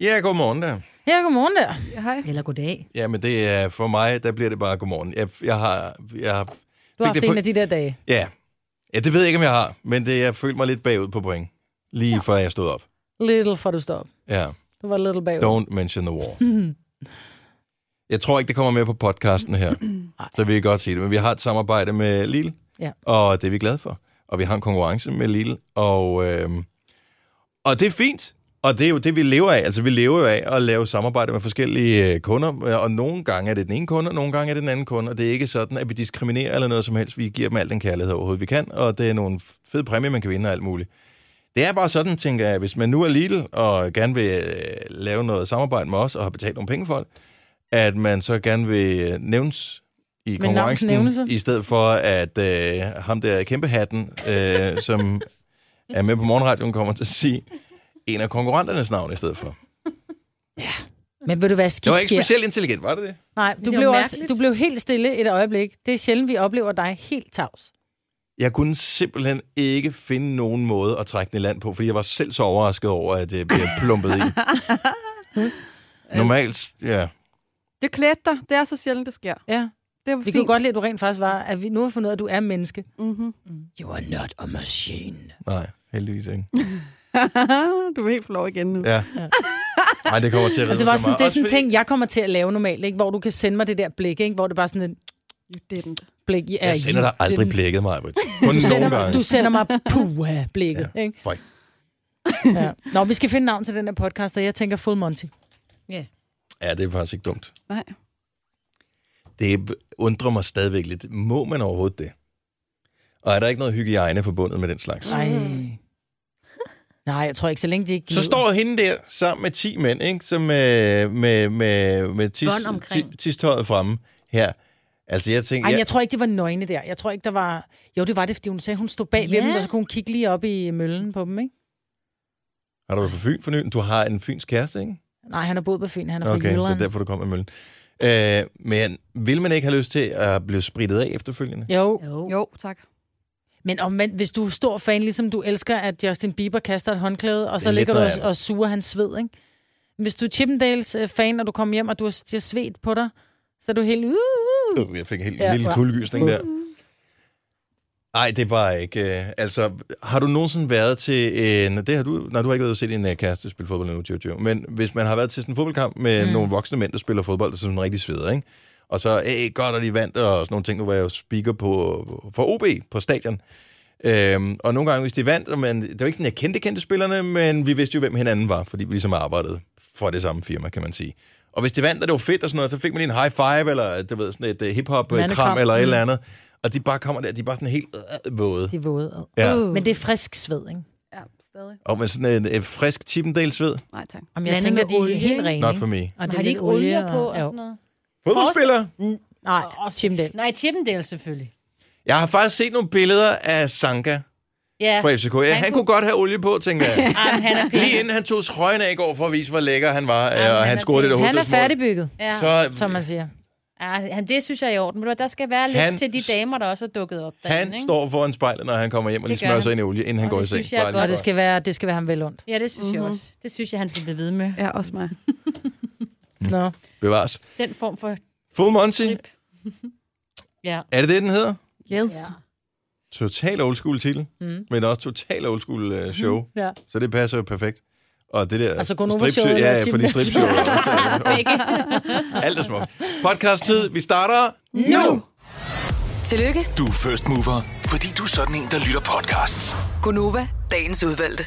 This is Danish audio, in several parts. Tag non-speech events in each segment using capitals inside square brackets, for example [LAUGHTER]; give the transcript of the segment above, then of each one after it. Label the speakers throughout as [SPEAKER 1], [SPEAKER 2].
[SPEAKER 1] Ja, godmorgen der.
[SPEAKER 2] Ja, godmorgen der.
[SPEAKER 3] Hej.
[SPEAKER 4] Eller goddag.
[SPEAKER 1] Ja, men det er for mig, der bliver det bare godmorgen. Jeg, jeg har... Jeg har
[SPEAKER 2] Du har haft
[SPEAKER 1] det
[SPEAKER 2] en af de der dage.
[SPEAKER 1] ja. ja, det ved jeg ikke, om jeg har, men det, jeg følte mig lidt bagud på point, lige ja. før jeg stod op.
[SPEAKER 2] Little for du står op.
[SPEAKER 1] Ja,
[SPEAKER 2] Du var little bagud.
[SPEAKER 1] don't mention the war. [LAUGHS] Jeg tror ikke, det kommer med på podcasten her, så vi kan godt sige det. Men vi har et samarbejde med Lille,
[SPEAKER 2] Ja.
[SPEAKER 1] og det er vi glade for. Og vi har en konkurrence med Lille, og, øhm, og det er fint. Og det er jo det, vi lever af. Altså, vi lever jo af at lave samarbejde med forskellige øh, kunder, og nogle gange er det den ene kunde, og nogle gange er det den anden kunde, og det er ikke sådan, at vi diskriminerer eller noget som helst. Vi giver dem al den kærlighed overhovedet, vi kan, og det er nogle fede præmier, man kan vinde og alt muligt. Det er bare sådan, tænker jeg, hvis man nu er Lidl og gerne vil øh, lave noget samarbejde med os og har betalt nogle penge for det, at man så gerne vil øh, nævnes i Med konkurrencen,
[SPEAKER 2] navnsnævnelse?
[SPEAKER 1] i stedet for at øh, ham der kæmpe hatten, øh, som er med på morgenradioen, kommer til at sige en af konkurrenternes navn i stedet for.
[SPEAKER 2] Men vil du være
[SPEAKER 1] Det
[SPEAKER 2] skidt
[SPEAKER 1] var ikke
[SPEAKER 2] sker?
[SPEAKER 1] specielt intelligent, var det det?
[SPEAKER 2] Nej, du
[SPEAKER 4] Det var
[SPEAKER 2] blev, også,
[SPEAKER 4] mærkeligt.
[SPEAKER 2] du blev helt stille et øjeblik. Det er sjældent, vi oplever dig helt tavs.
[SPEAKER 1] Jeg kunne simpelthen ikke finde nogen måde at trække den i land på, fordi jeg var selv så overrasket over, at det bliver plumpet i. Normalt, ja.
[SPEAKER 3] Det klædte dig. Det er så sjældent, det sker.
[SPEAKER 2] Ja.
[SPEAKER 3] Det var
[SPEAKER 2] Vi
[SPEAKER 3] fint.
[SPEAKER 2] kunne godt lide, at du rent faktisk var, at vi nu har fundet ud af, at du er menneske.
[SPEAKER 3] Mm-hmm.
[SPEAKER 4] You are not a machine.
[SPEAKER 1] Nej, heldigvis ikke.
[SPEAKER 3] [LAUGHS] du er helt flov igen nu.
[SPEAKER 2] [LAUGHS]
[SPEAKER 1] Ja. Nej, det kommer til at
[SPEAKER 2] Og
[SPEAKER 1] ride
[SPEAKER 2] det var
[SPEAKER 1] mig så
[SPEAKER 2] sådan,
[SPEAKER 1] meget. Altså,
[SPEAKER 2] det er
[SPEAKER 1] Også
[SPEAKER 2] sådan en
[SPEAKER 1] fordi-
[SPEAKER 2] ting, jeg kommer til at lave normalt, ikke? hvor du kan sende mig det der blik, ikke? hvor det bare sådan et
[SPEAKER 3] You didn't.
[SPEAKER 2] blik. Ja,
[SPEAKER 1] Jeg sender dig aldrig blikket, mig. Kun
[SPEAKER 2] Du
[SPEAKER 1] nogle
[SPEAKER 2] sender,
[SPEAKER 1] gange.
[SPEAKER 2] du sender
[SPEAKER 1] [LAUGHS]
[SPEAKER 2] mig puha-blikket. Ja. Ikke?
[SPEAKER 1] Føj.
[SPEAKER 2] Ja. Nå, vi skal finde navn til den her podcast, og jeg tænker Full Monty.
[SPEAKER 1] Ja, det er faktisk ikke dumt.
[SPEAKER 3] Nej.
[SPEAKER 1] Det undrer mig stadigvæk lidt. Må man overhovedet det? Og er der ikke noget hygiejne forbundet med den slags?
[SPEAKER 2] Nej. [LAUGHS] Nej, jeg tror ikke, så længe de ikke
[SPEAKER 1] Så står hende der sammen med 10 mænd, ikke? Som med, med, med, med tis,
[SPEAKER 4] Bånd omkring.
[SPEAKER 1] ti- tistøjet fremme her. Altså, jeg tænker...
[SPEAKER 2] Ej, jeg tror ikke, det var nøgne der. Jeg tror ikke, der var... Jo, det var det, fordi hun sagde, hun stod bag ved
[SPEAKER 4] Ja.
[SPEAKER 2] dem, og så kunne hun kigge lige op i møllen på dem, ikke?
[SPEAKER 1] Har du været på Fyn for nylig? Du har en fyns kæreste, ikke?
[SPEAKER 2] Nej, han har boet på Fyn, han er fra
[SPEAKER 1] Okay, det er
[SPEAKER 2] Jylland.
[SPEAKER 1] derfor, du kom med møllen. Øh, men vil man ikke have lyst til at blive spritet af efterfølgende?
[SPEAKER 2] Jo,
[SPEAKER 4] Jo.
[SPEAKER 3] Jo, tak.
[SPEAKER 2] men omvendt, hvis du er stor fan, ligesom du elsker, at Justin Bieber kaster et håndklæde, og
[SPEAKER 1] Det
[SPEAKER 2] så
[SPEAKER 1] er lidt
[SPEAKER 2] ligger du
[SPEAKER 1] noget
[SPEAKER 2] og,
[SPEAKER 1] andet.
[SPEAKER 2] og suger hans sved, ikke? Hvis du er Chippendales øh, fan, og du kommer hjem, og du har det har svedt på dig, så er du helt... Uh, uh.
[SPEAKER 1] Øh, Jeg fik en helt
[SPEAKER 2] Ja,
[SPEAKER 1] ja, lille
[SPEAKER 2] hva?
[SPEAKER 1] kuldegysning
[SPEAKER 3] Mm.
[SPEAKER 1] der. Nej, det er bare ikke... Øh, altså, har du nogensinde været til en... Det har du... Nej, du har ikke været ude at se din øh, kæreste spille fodbold endnu, Jojo. Men hvis man har været til sådan en fodboldkamp med mm. nogle voksne mænd, der spiller fodbold, der er sådan rigtig sveder, ikke? Og så, æh, godt, og de vandt, og sådan nogle ting. Nu var jeg jo speaker på, for OB på stadion. Øhm, og nogle gange, hvis de vandt, og man, det var ikke sådan, jeg kendte, kendte spillerne, men vi vidste jo, hvem hinanden var, fordi vi ligesom arbejdede for det samme firma, kan man sige. Og hvis de vandt, og det var fedt og sådan noget, så fik man lige en high five, eller du ved, sådan et uh, hip-hop-kram,
[SPEAKER 2] Mandekram.
[SPEAKER 1] eller et
[SPEAKER 2] Mm.
[SPEAKER 1] eller andet. Og de bare kommer der, de er bare sådan helt øh, våde.
[SPEAKER 2] Det er våde.
[SPEAKER 1] Ja.
[SPEAKER 3] Uh.
[SPEAKER 2] Men det er frisk sved, ikke?
[SPEAKER 3] Ja, stadig.
[SPEAKER 1] Og med sådan en, en frisk Chippendales-sved.
[SPEAKER 3] Nej, tak.
[SPEAKER 2] Jamen, jeg
[SPEAKER 4] Blandet
[SPEAKER 2] tænker,
[SPEAKER 4] med
[SPEAKER 2] de er
[SPEAKER 4] olie,
[SPEAKER 2] helt
[SPEAKER 4] ikke?
[SPEAKER 2] rene,
[SPEAKER 1] Not
[SPEAKER 2] ikke?
[SPEAKER 1] for me.
[SPEAKER 2] Og det er
[SPEAKER 4] har de
[SPEAKER 2] lidt
[SPEAKER 4] ikke olie
[SPEAKER 2] og-
[SPEAKER 4] på Altså, og, og
[SPEAKER 2] jo.
[SPEAKER 4] sådan noget?
[SPEAKER 1] Fodboldspiller!
[SPEAKER 2] Nej, Chippendale.
[SPEAKER 4] Nej, Chippendale selvfølgelig.
[SPEAKER 1] Jeg har faktisk set nogle billeder af Sanka
[SPEAKER 4] Ja,
[SPEAKER 1] fra FCK. Ja, han,
[SPEAKER 4] Han kunne-
[SPEAKER 1] han kunne godt have olie på,
[SPEAKER 4] [LAUGHS]
[SPEAKER 1] tænker jeg.
[SPEAKER 4] Ej, men han er pæn.
[SPEAKER 1] Lige inden han tog trøjen af i går for at vise, hvor lækker han var,
[SPEAKER 4] Jamen,
[SPEAKER 1] og
[SPEAKER 4] han
[SPEAKER 1] han
[SPEAKER 4] er
[SPEAKER 1] scorede det der
[SPEAKER 4] pæn.
[SPEAKER 2] Han er
[SPEAKER 1] hovedstødsmål,
[SPEAKER 2] færdigbygget,
[SPEAKER 4] Ja.
[SPEAKER 1] Så,
[SPEAKER 2] som man siger.
[SPEAKER 4] Ja, han, det synes jeg er i orden. Men der skal være lidt
[SPEAKER 1] Han
[SPEAKER 4] han, til de damer, der også er dukket op. derinde,
[SPEAKER 1] Han
[SPEAKER 4] ikke?
[SPEAKER 1] står foran spejlet, når han kommer hjem og lige
[SPEAKER 4] Det gør
[SPEAKER 1] smører
[SPEAKER 4] han.
[SPEAKER 1] sig ind i olie, inden han
[SPEAKER 4] Og
[SPEAKER 1] går i
[SPEAKER 4] det
[SPEAKER 1] seng.
[SPEAKER 4] synes jeg er
[SPEAKER 1] Bare lige
[SPEAKER 4] godt.
[SPEAKER 2] Og
[SPEAKER 1] for-
[SPEAKER 2] det skal være, det skal være ham vel ondt.
[SPEAKER 4] Ja, det synes
[SPEAKER 5] Mhm.
[SPEAKER 4] mm-hmm. jeg også. Det synes jeg, han skal blive ved med.
[SPEAKER 3] Ja, også mig.
[SPEAKER 2] Nå.
[SPEAKER 1] Bevares.
[SPEAKER 4] Den form for
[SPEAKER 1] Full Monty,
[SPEAKER 4] trip. [LAUGHS] ja.
[SPEAKER 1] er det det, den hedder?
[SPEAKER 3] Yes.
[SPEAKER 4] Ja.
[SPEAKER 1] Total old school titel,
[SPEAKER 2] Mm. Mhm.
[SPEAKER 1] men også total old school øh, show.
[SPEAKER 2] Ja.
[SPEAKER 1] Så det passer jo perfekt. Og det der
[SPEAKER 2] Altså, Gonova
[SPEAKER 1] stripshow-
[SPEAKER 2] showet
[SPEAKER 1] ja,
[SPEAKER 2] eller
[SPEAKER 1] ja,
[SPEAKER 2] Tim
[SPEAKER 1] fordi
[SPEAKER 2] Benz-
[SPEAKER 1] stripshow. er
[SPEAKER 2] [LAUGHS]
[SPEAKER 1] også- [LAUGHS] Alt er smukt. Podcast-tid, vi starter
[SPEAKER 2] Nu!
[SPEAKER 6] Tillykke,
[SPEAKER 7] Du er first mover, fordi du er sådan en, der lytter podcasts.
[SPEAKER 6] Gunova, dagens udvalgte.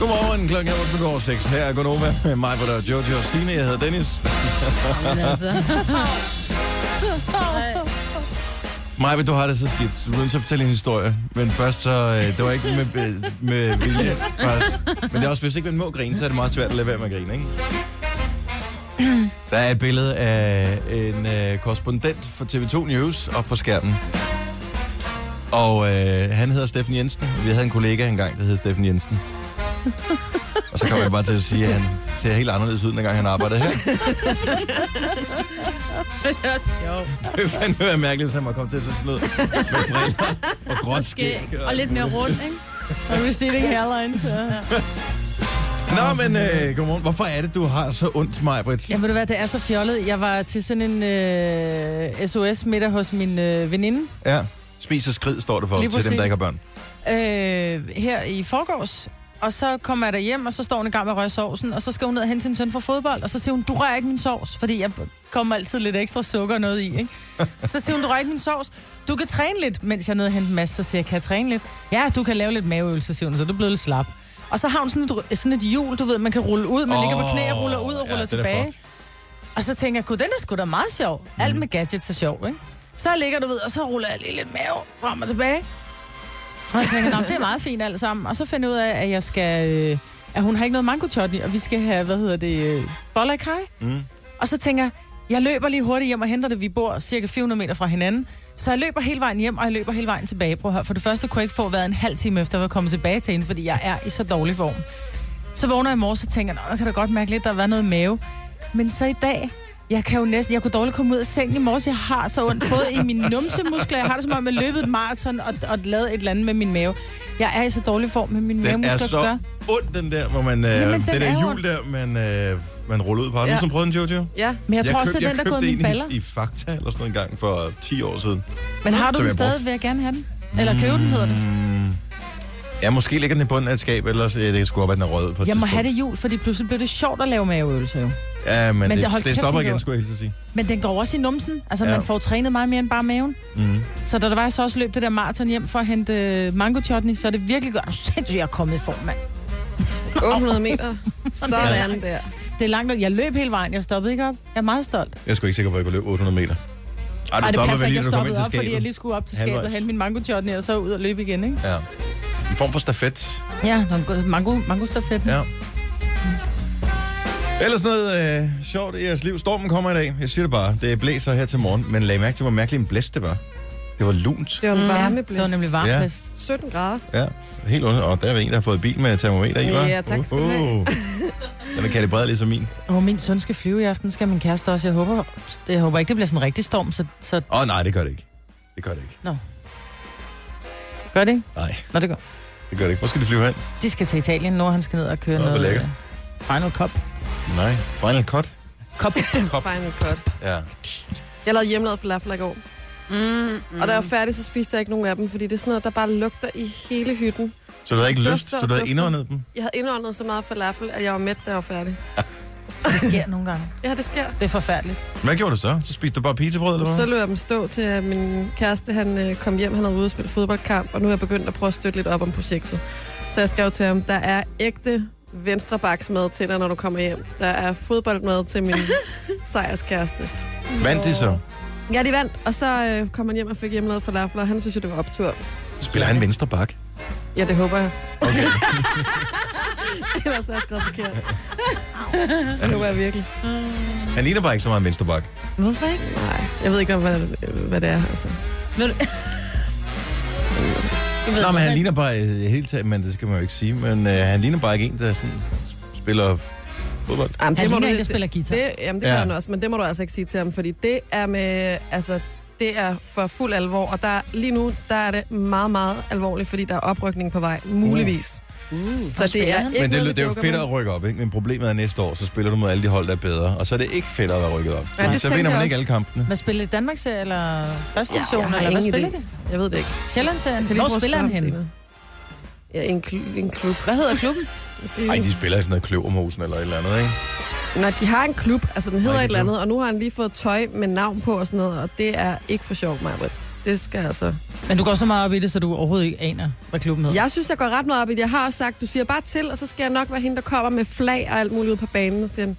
[SPEAKER 1] Godmorgen, klokken er 8 går 6. Her er Gunova med mig, hvor der er Jojo og Signe. Jeg hedder Dennis. [LAUGHS] Maja, du har det så skidt. Du er nødt til at fortælle en historie. Men først så, øh, det var ikke med, med, med vilje først. Men det er også, hvis ikke man må grine, så er det meget svært at lade være med at grine, ikke? Der er et billede af en øh, korrespondent for TV2 News op på skærmen. Og øh, han hedder Steffen Jensen. Vi havde en kollega engang, der hed Steffen Jensen. Og så kom jeg bare til at sige, at han ser helt anderledes ud, dengang han arbejdede her.
[SPEAKER 4] det er sjovt.
[SPEAKER 1] [LAUGHS] Det ville fandme være mærkeligt, hvis han var kommet til at se sådan ud. Med briller og gråt skæg.
[SPEAKER 4] Og lidt mere rundt, ikke?
[SPEAKER 2] Og receding hairline, så... Ja.
[SPEAKER 1] Nå, men øh, godmorgen. Hvorfor er det, du har så ondt, Majbrit?
[SPEAKER 2] Ja, ved du hvad, det er så fjollet. Jeg var til sådan en øh, SOS-middag hos min øh, veninde
[SPEAKER 1] Ja. Spis og skrid, står det for,
[SPEAKER 2] Lige
[SPEAKER 1] til dem, der ikke
[SPEAKER 2] præcis.
[SPEAKER 1] har børn.
[SPEAKER 2] øh, her i forgårs. Og så kommer jeg hjem og så står hun i gang med at røre sovsen, og så skal hun ned og hente sin søn fra fodbold, og så siger hun, du rører ikke min sovs, fordi jeg kommer altid lidt ekstra sukker og noget i, ikke? Så siger hun, du rører ikke min sovs. Du kan træne lidt, mens jeg er nede og hente masse, så siger jeg, kan jeg træne lidt? Ja, du kan lave lidt maveøvelser, siger hun, så du er blevet lidt slap. Og så har hun sådan et, sådan et hjul, du ved, man kan rulle ud, man oh, ligger på knæ og ruller ud og
[SPEAKER 1] Åh, ja,
[SPEAKER 2] ruller
[SPEAKER 1] den er
[SPEAKER 2] tilbage.
[SPEAKER 1] flot.
[SPEAKER 2] Og så tænker jeg, gud, den er sgu da meget sjov. Alt med gadgets er sjov, ikke? Så ligger du ved, og så ruller jeg lige lidt mave frem og tilbage. Og jeg tænker, "Nå, det er meget fint alt sammen. Og så finder jeg ud af, at jeg skal... Øh, at hun har ikke noget mango chutney, og vi skal have, hvad hedder det, øh, boller i kaj.
[SPEAKER 1] Mm.
[SPEAKER 2] Og så tænker jeg, jeg løber lige hurtigt hjem og henter det. Vi bor cirka 400 meter fra hinanden. Så jeg løber hele vejen hjem, og jeg løber hele vejen tilbage. Prøv at høre. For det første kunne jeg ikke få været en halv time efter, at jeg var kommet tilbage til hende, fordi jeg er i så dårlig form. Så vågner jeg i morges og tænker, "Nå, jeg kan da godt mærke lidt, der har været noget mave. Men så i dag, jeg kan jo næsten, jeg kunne dårligt komme ud af sengen i morges, jeg har så ondt, både i mine numsemuskler, jeg har det som om, jeg løbet et maraton og, og lavet et eller andet med min mave. Jeg er i så dårlig form, men mine
[SPEAKER 1] Den er
[SPEAKER 2] mavemuskler gør.
[SPEAKER 1] så ond, den der, hvor man... Øh,
[SPEAKER 2] Jamen,
[SPEAKER 1] Jamen,
[SPEAKER 2] den
[SPEAKER 1] det
[SPEAKER 2] er
[SPEAKER 1] der
[SPEAKER 2] jo
[SPEAKER 1] hjul der, man, øh, man ruller ud på. Har du
[SPEAKER 3] Ja.
[SPEAKER 1] ja. prøvet den, Jojo?
[SPEAKER 3] Ja.
[SPEAKER 2] Men jeg, jeg
[SPEAKER 1] køb-
[SPEAKER 2] tror også, det er den, der er gået i
[SPEAKER 1] købte
[SPEAKER 2] mine baller.
[SPEAKER 1] en i, i Fakta eller sådan noget en gang for 10 år siden.
[SPEAKER 2] Men har
[SPEAKER 1] som
[SPEAKER 2] du den
[SPEAKER 1] jeg brugte.
[SPEAKER 2] stadig, vil jeg gerne have den. Eller købe den, hedder det.
[SPEAKER 1] Mm. Ja, måske ligger den i bunden af et skab, ellers ja, det kan sgu op, at den er rød på et
[SPEAKER 2] Jeg må
[SPEAKER 1] tidspunkt.
[SPEAKER 2] have det jul, fordi pludselig blev det sjovt at lave maveøvelser jo.
[SPEAKER 1] Ja, men,
[SPEAKER 2] Men
[SPEAKER 1] men
[SPEAKER 2] det- hold
[SPEAKER 1] det, det
[SPEAKER 2] kæft,
[SPEAKER 1] stopper
[SPEAKER 2] det
[SPEAKER 1] igen,
[SPEAKER 2] var-
[SPEAKER 1] skulle jeg hilse at sige.
[SPEAKER 2] Men den går også i numsen. Altså,
[SPEAKER 1] Ja.
[SPEAKER 2] ja. man får trænet meget mere end bare maven.
[SPEAKER 1] Mm.
[SPEAKER 2] Så da der var, jeg så også løb det der maraton hjem for at hente øh, mango chutney, så er det virkelig godt. Er Du sindssygt, jeg er kommet i form, mand.
[SPEAKER 3] 800 meter. Sådan der.
[SPEAKER 2] Det er langt, og jeg løb hele vejen. Jeg stoppede ikke op. Jeg er meget stolt.
[SPEAKER 1] Jeg er sgu ikke sikker på, at jeg kunne løbe 800 meter. Ej, du
[SPEAKER 2] Ej, det
[SPEAKER 1] stopper
[SPEAKER 2] passer
[SPEAKER 1] vel
[SPEAKER 2] ikke,
[SPEAKER 1] lige,
[SPEAKER 2] jeg
[SPEAKER 1] når du kommer ind
[SPEAKER 2] stoppede
[SPEAKER 1] til
[SPEAKER 2] op,
[SPEAKER 1] skabet.
[SPEAKER 2] fordi jeg lige skulle op til skabet og
[SPEAKER 1] Halvvejs.
[SPEAKER 2] hente min mango chutney, og så ud og løbe igen, ikke?
[SPEAKER 1] Ja. En form for stafet.
[SPEAKER 2] Ja, der mango, mango stafet. Ja.
[SPEAKER 1] Ja. Ellers noget øh, sjovt i jeres liv. Stormen kommer i dag. Jeg siger det bare. Det blæser her til morgen. Men lag mærke til, hvor mærkelig en blæst det var. Det var lunt.
[SPEAKER 3] Det var en
[SPEAKER 2] Mm. Det
[SPEAKER 3] varmeblæst.
[SPEAKER 2] var nemlig varmt.
[SPEAKER 1] Ja.
[SPEAKER 2] Ja.
[SPEAKER 3] 17 grader.
[SPEAKER 1] Ja, helt under. Og der er en, der har fået bil med termometer i, var?
[SPEAKER 3] Ja, tak skal du have.
[SPEAKER 1] [LAUGHS] Den er kalibreret ligesom min.
[SPEAKER 2] Og min søn skal flyve i aften, skal min kæreste også. Jeg håber, jeg håber ikke, det bliver sådan en rigtig storm, så, så
[SPEAKER 1] Åh, oh, nej, det gør det ikke. Det gør det ikke.
[SPEAKER 2] gør det ikke?
[SPEAKER 1] Nej,
[SPEAKER 2] Nå, det gør.
[SPEAKER 1] det gør det ikke. Hvor skal de flyve hen?
[SPEAKER 2] De skal til Italien nu, og han skal ned og køre
[SPEAKER 1] Nå, hvor
[SPEAKER 2] noget.
[SPEAKER 1] lækkert.
[SPEAKER 2] øh, Final Cup.
[SPEAKER 1] Nej. Final cut?
[SPEAKER 2] Cup.
[SPEAKER 1] Hop.
[SPEAKER 3] Final cut.
[SPEAKER 1] Ja.
[SPEAKER 3] Jeg lavede hjemmelavet falafel i går.
[SPEAKER 4] Mm, mm.
[SPEAKER 3] Og da jeg var færdig, så spiste jeg ikke nogen af dem, fordi det er sådan noget, der bare lugter i hele hytten.
[SPEAKER 1] Så du havde ikke
[SPEAKER 3] Dufter
[SPEAKER 1] lyst, så
[SPEAKER 3] og
[SPEAKER 1] du havde
[SPEAKER 3] dufter.
[SPEAKER 1] indåndet dem?
[SPEAKER 3] Jeg havde indåndet så meget falafel, at jeg var mæt, da jeg var færdig.
[SPEAKER 2] Det sker nogle gange.
[SPEAKER 3] Ja, det sker.
[SPEAKER 2] Det er forfærdeligt.
[SPEAKER 1] Hvad gjorde du så? Så spiste du bare pizzabrød, eller
[SPEAKER 3] Så
[SPEAKER 1] hvad?
[SPEAKER 3] lå jeg dem stå til, at min kæreste han, øh, kom hjem. Han havde ude og spille fodboldkamp, og nu er jeg begyndt at prøve at støtte lidt op om projektet. Så jeg skrev til ham, der er ægte venstrebaksmad til dig, når du kommer hjem. Der er fodboldmad til
[SPEAKER 1] [LAUGHS]
[SPEAKER 3] min sejrskæreste.
[SPEAKER 1] Vandt de så?
[SPEAKER 3] Ja, de vandt, og så øh, kom han hjem og fik hjemmelavet falafel, og han synes jo, det var optur.
[SPEAKER 1] Spiller han venstre bak?
[SPEAKER 3] Ja, det håber jeg.
[SPEAKER 1] Okay.
[SPEAKER 3] [LAUGHS] Ellers har jeg skrevet forkert. Det håber jeg virkelig.
[SPEAKER 1] Han ligner bare ikke så meget en venstre bak.
[SPEAKER 2] Hvorfor ikke?
[SPEAKER 3] Nej, jeg ved ikke, om, hvad, hvad det er. Altså.
[SPEAKER 1] Nå,
[SPEAKER 2] Du ved,
[SPEAKER 1] men han
[SPEAKER 2] hvordan-
[SPEAKER 1] ligner bare øh, helt taget, men det skal man jo ikke sige. Men øh, han ligner bare ikke en, der sådan, spiller fodbold.
[SPEAKER 3] Jamen,
[SPEAKER 2] Han
[SPEAKER 3] må
[SPEAKER 2] ligner
[SPEAKER 3] du-
[SPEAKER 2] en, der spiller guitar.
[SPEAKER 3] Det, jamen, det
[SPEAKER 1] Ja.
[SPEAKER 3] ja. han også, men det må du altså ikke sige til ham, fordi det er med, altså, det er for fuld alvor, og der, lige nu, der er det meget, meget alvorligt, fordi der er oprykning på vej, muligvis. Uh, så det
[SPEAKER 2] spiller
[SPEAKER 3] er
[SPEAKER 2] han?
[SPEAKER 3] ikke
[SPEAKER 1] Men det,
[SPEAKER 3] noget,
[SPEAKER 1] det,
[SPEAKER 3] vi
[SPEAKER 1] det er jo
[SPEAKER 3] joker
[SPEAKER 1] fedt
[SPEAKER 3] med.
[SPEAKER 1] at rykke op, ikke? Men problemet er at næste år, så spiller du mod alle de hold, der er bedre. Og så er det ikke fedt at være rykket op. Fordi
[SPEAKER 3] det
[SPEAKER 1] så
[SPEAKER 3] tænker
[SPEAKER 1] vinder man
[SPEAKER 3] jeg
[SPEAKER 1] ikke alle
[SPEAKER 3] også.
[SPEAKER 1] kampene.
[SPEAKER 2] Hvad spiller det? Danmarks serie eller første division?
[SPEAKER 3] jeg har
[SPEAKER 2] eller hvad
[SPEAKER 3] ingen
[SPEAKER 2] spiller
[SPEAKER 3] idé.
[SPEAKER 2] det?
[SPEAKER 1] Mm.
[SPEAKER 3] Jeg ved det ikke.
[SPEAKER 2] Sjællandsserien?
[SPEAKER 3] Kan lige prøve
[SPEAKER 2] Hvor
[SPEAKER 3] at
[SPEAKER 2] spiller han
[SPEAKER 3] spørge ham
[SPEAKER 2] henne?
[SPEAKER 3] senere. Ja, en, kl- en klub.
[SPEAKER 2] Hvad hedder klubben?
[SPEAKER 3] Det er
[SPEAKER 1] Nej,
[SPEAKER 3] jo-
[SPEAKER 1] de spiller i sådan noget kløvermosen eller et eller andet, ikke?
[SPEAKER 3] Nå, de har en klub, altså den hedder
[SPEAKER 1] Nej,
[SPEAKER 3] et
[SPEAKER 1] en
[SPEAKER 3] eller andet, og nu har han lige fået tøj med navn på og sådan noget, og det er ikke for sjovt, Marvitt. Det skal altså...
[SPEAKER 2] Men du går så meget op i det, så du overhovedet ikke aner, hvad klubben hedder.
[SPEAKER 3] Jeg synes, jeg går ret meget op i det. Jeg har også sagt, du siger bare til, og så skal jeg nok være hende, der kommer med flag og alt muligt ud på banen. Og siger, han,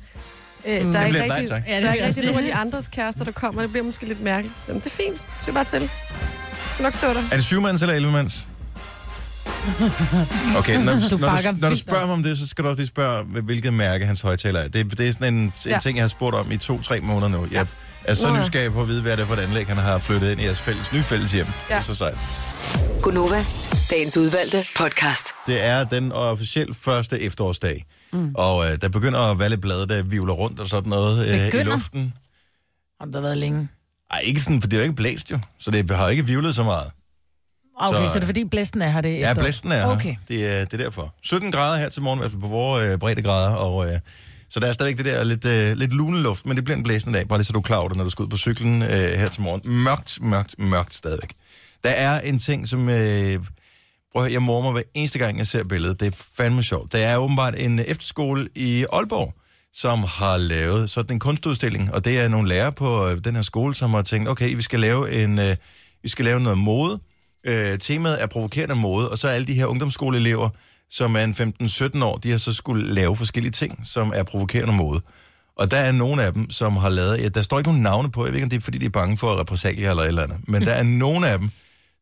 [SPEAKER 3] øh, der er
[SPEAKER 1] Det
[SPEAKER 3] ikke
[SPEAKER 1] bliver Mm. nej,
[SPEAKER 3] rigtig,
[SPEAKER 1] tak.
[SPEAKER 4] Ja,
[SPEAKER 3] der er
[SPEAKER 4] det
[SPEAKER 3] ikke
[SPEAKER 4] vil jeg
[SPEAKER 3] rigtig
[SPEAKER 4] sige.
[SPEAKER 3] nogen af de andres kærester, der kommer. Det bliver måske lidt mærkeligt. Så, det er fint. Sig bare til. Du skal nok stå der.
[SPEAKER 1] Er det syvmands eller elvemands? Okay,
[SPEAKER 2] [LAUGHS]
[SPEAKER 1] når,
[SPEAKER 2] Du
[SPEAKER 1] du når,
[SPEAKER 2] bakker
[SPEAKER 1] du, når du
[SPEAKER 2] vildt
[SPEAKER 1] spørger
[SPEAKER 2] op.
[SPEAKER 1] mig om det, så skal du også lige spørge, hvad- hvilket mærke hans højtaler er. Det, det er sådan en, en
[SPEAKER 3] Ja.
[SPEAKER 1] ting, jeg har spurgt om i to-tre måneder nu. Jeg er så
[SPEAKER 3] Nå ja.
[SPEAKER 1] nysgerrig på at vide, hvad det er for et anlæg, han har flyttet ind i jeres fælles, nye fælles hjem. Ja.
[SPEAKER 3] Ja.
[SPEAKER 1] Det er så sejt.
[SPEAKER 6] Gunova, dagens udvalgte podcast.
[SPEAKER 1] Det er den officielt første efterårsdag. Mm. Og øh, der begynder at være lidt blade, der vivler rundt og sådan noget øh, i
[SPEAKER 2] Begynder?
[SPEAKER 1] luften.
[SPEAKER 2] Har det da været længe?
[SPEAKER 1] Ej, ikke sådan, for det er jo ikke blæst jo. Så det har ikke vivlet så meget.
[SPEAKER 2] Okay, så,
[SPEAKER 1] Så-
[SPEAKER 2] så det er fordi blæsten er her det
[SPEAKER 1] Ja,
[SPEAKER 2] efterår.
[SPEAKER 1] blæsten er her.
[SPEAKER 2] øh, Okay.
[SPEAKER 1] Det er, det er derfor. 17 grader her til morgen, i hvert fald på vores øh, breddegrader, og... Øh, så der er stadigvæk det der lidt, øh, lidt luneluft, men det bliver en blæsende dag, bare lige så du er klar over det, når du skal ud på cyklen øh, her til morgen. Mørkt, mørkt, mørkt stadigvæk. Der er en ting, som... Øh, prøv at høre, jeg mormer hver eneste gang, jeg ser billedet. Det er fandme sjovt. Der er åbenbart en efterskole i Aalborg, som har lavet sådan en kunstudstilling, og det er nogle lærere på øh, den her skole, som har tænkt, okay, vi skal lave, en, øh, vi skal lave noget mode. Øh, temaet er provokerende mode, og så er alle de her ungdomsskoleelever, som er en 15-17 år, de har så skulle lave forskellige ting, som er provokerende mode. Og der er nogle af dem, som har lavet... Ja, der står ikke nogen navne på, jeg ved ikke, om det er, fordi de er bange for repressalier eller et eller andet, men der er nogle af dem,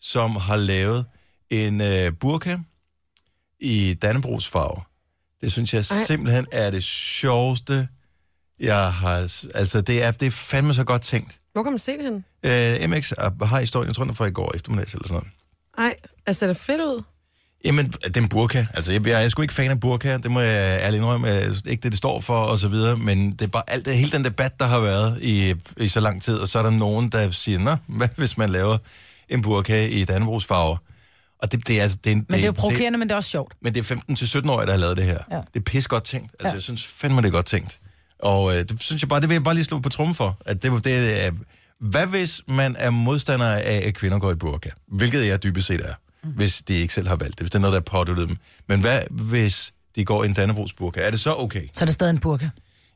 [SPEAKER 1] som har lavet en øh, burka i Dannebrogs farve. Det synes jeg Ej. simpelthen er det sjoveste, jeg har... s- Altså, det er, det er fandme så godt tænkt.
[SPEAKER 3] Hvor kan man se det henne?
[SPEAKER 1] Øh, MX er- har historien, jeg tror, den er fra i går eftermiddag eller sådan noget.
[SPEAKER 3] Ej, altså, ser det fedt ud?
[SPEAKER 1] Jamen, den burka. Altså, jeg, jeg er sgu ikke fan af burka. Det må jeg ærligt indrømme. Jeg synes Ikke det, det står for, og så videre. Men det er bare alt det, hele den debat, der har været i, i så lang tid. Og så er der nogen, der siger, Nå, hvad hvis man laver en burka i Dannebrogs farver? Og det, det er altså... Det,
[SPEAKER 2] Men det er jo provokerende, men det er også sjovt.
[SPEAKER 1] men det er 15-17-årige, der har lavet det her. Ja.
[SPEAKER 2] Ja.
[SPEAKER 1] Det er pis godt tænkt. Altså, ja.
[SPEAKER 2] Ja.
[SPEAKER 1] jeg synes fandme, det er godt tænkt. Og øh, det synes jeg bare, det vil jeg bare lige slå på trummen for. At det, det er, hvad hvis man er modstander af, at kvinder går i burka? Hvilket jeg dybest set er,
[SPEAKER 2] Mhm.
[SPEAKER 1] mm. hvis de ikke selv har valgt det. Hvis det er noget, der er påduttet dem. Men hvad hvis de går i en Dannebrogs burka? Er det så okay?
[SPEAKER 2] Så er det stadig en burka.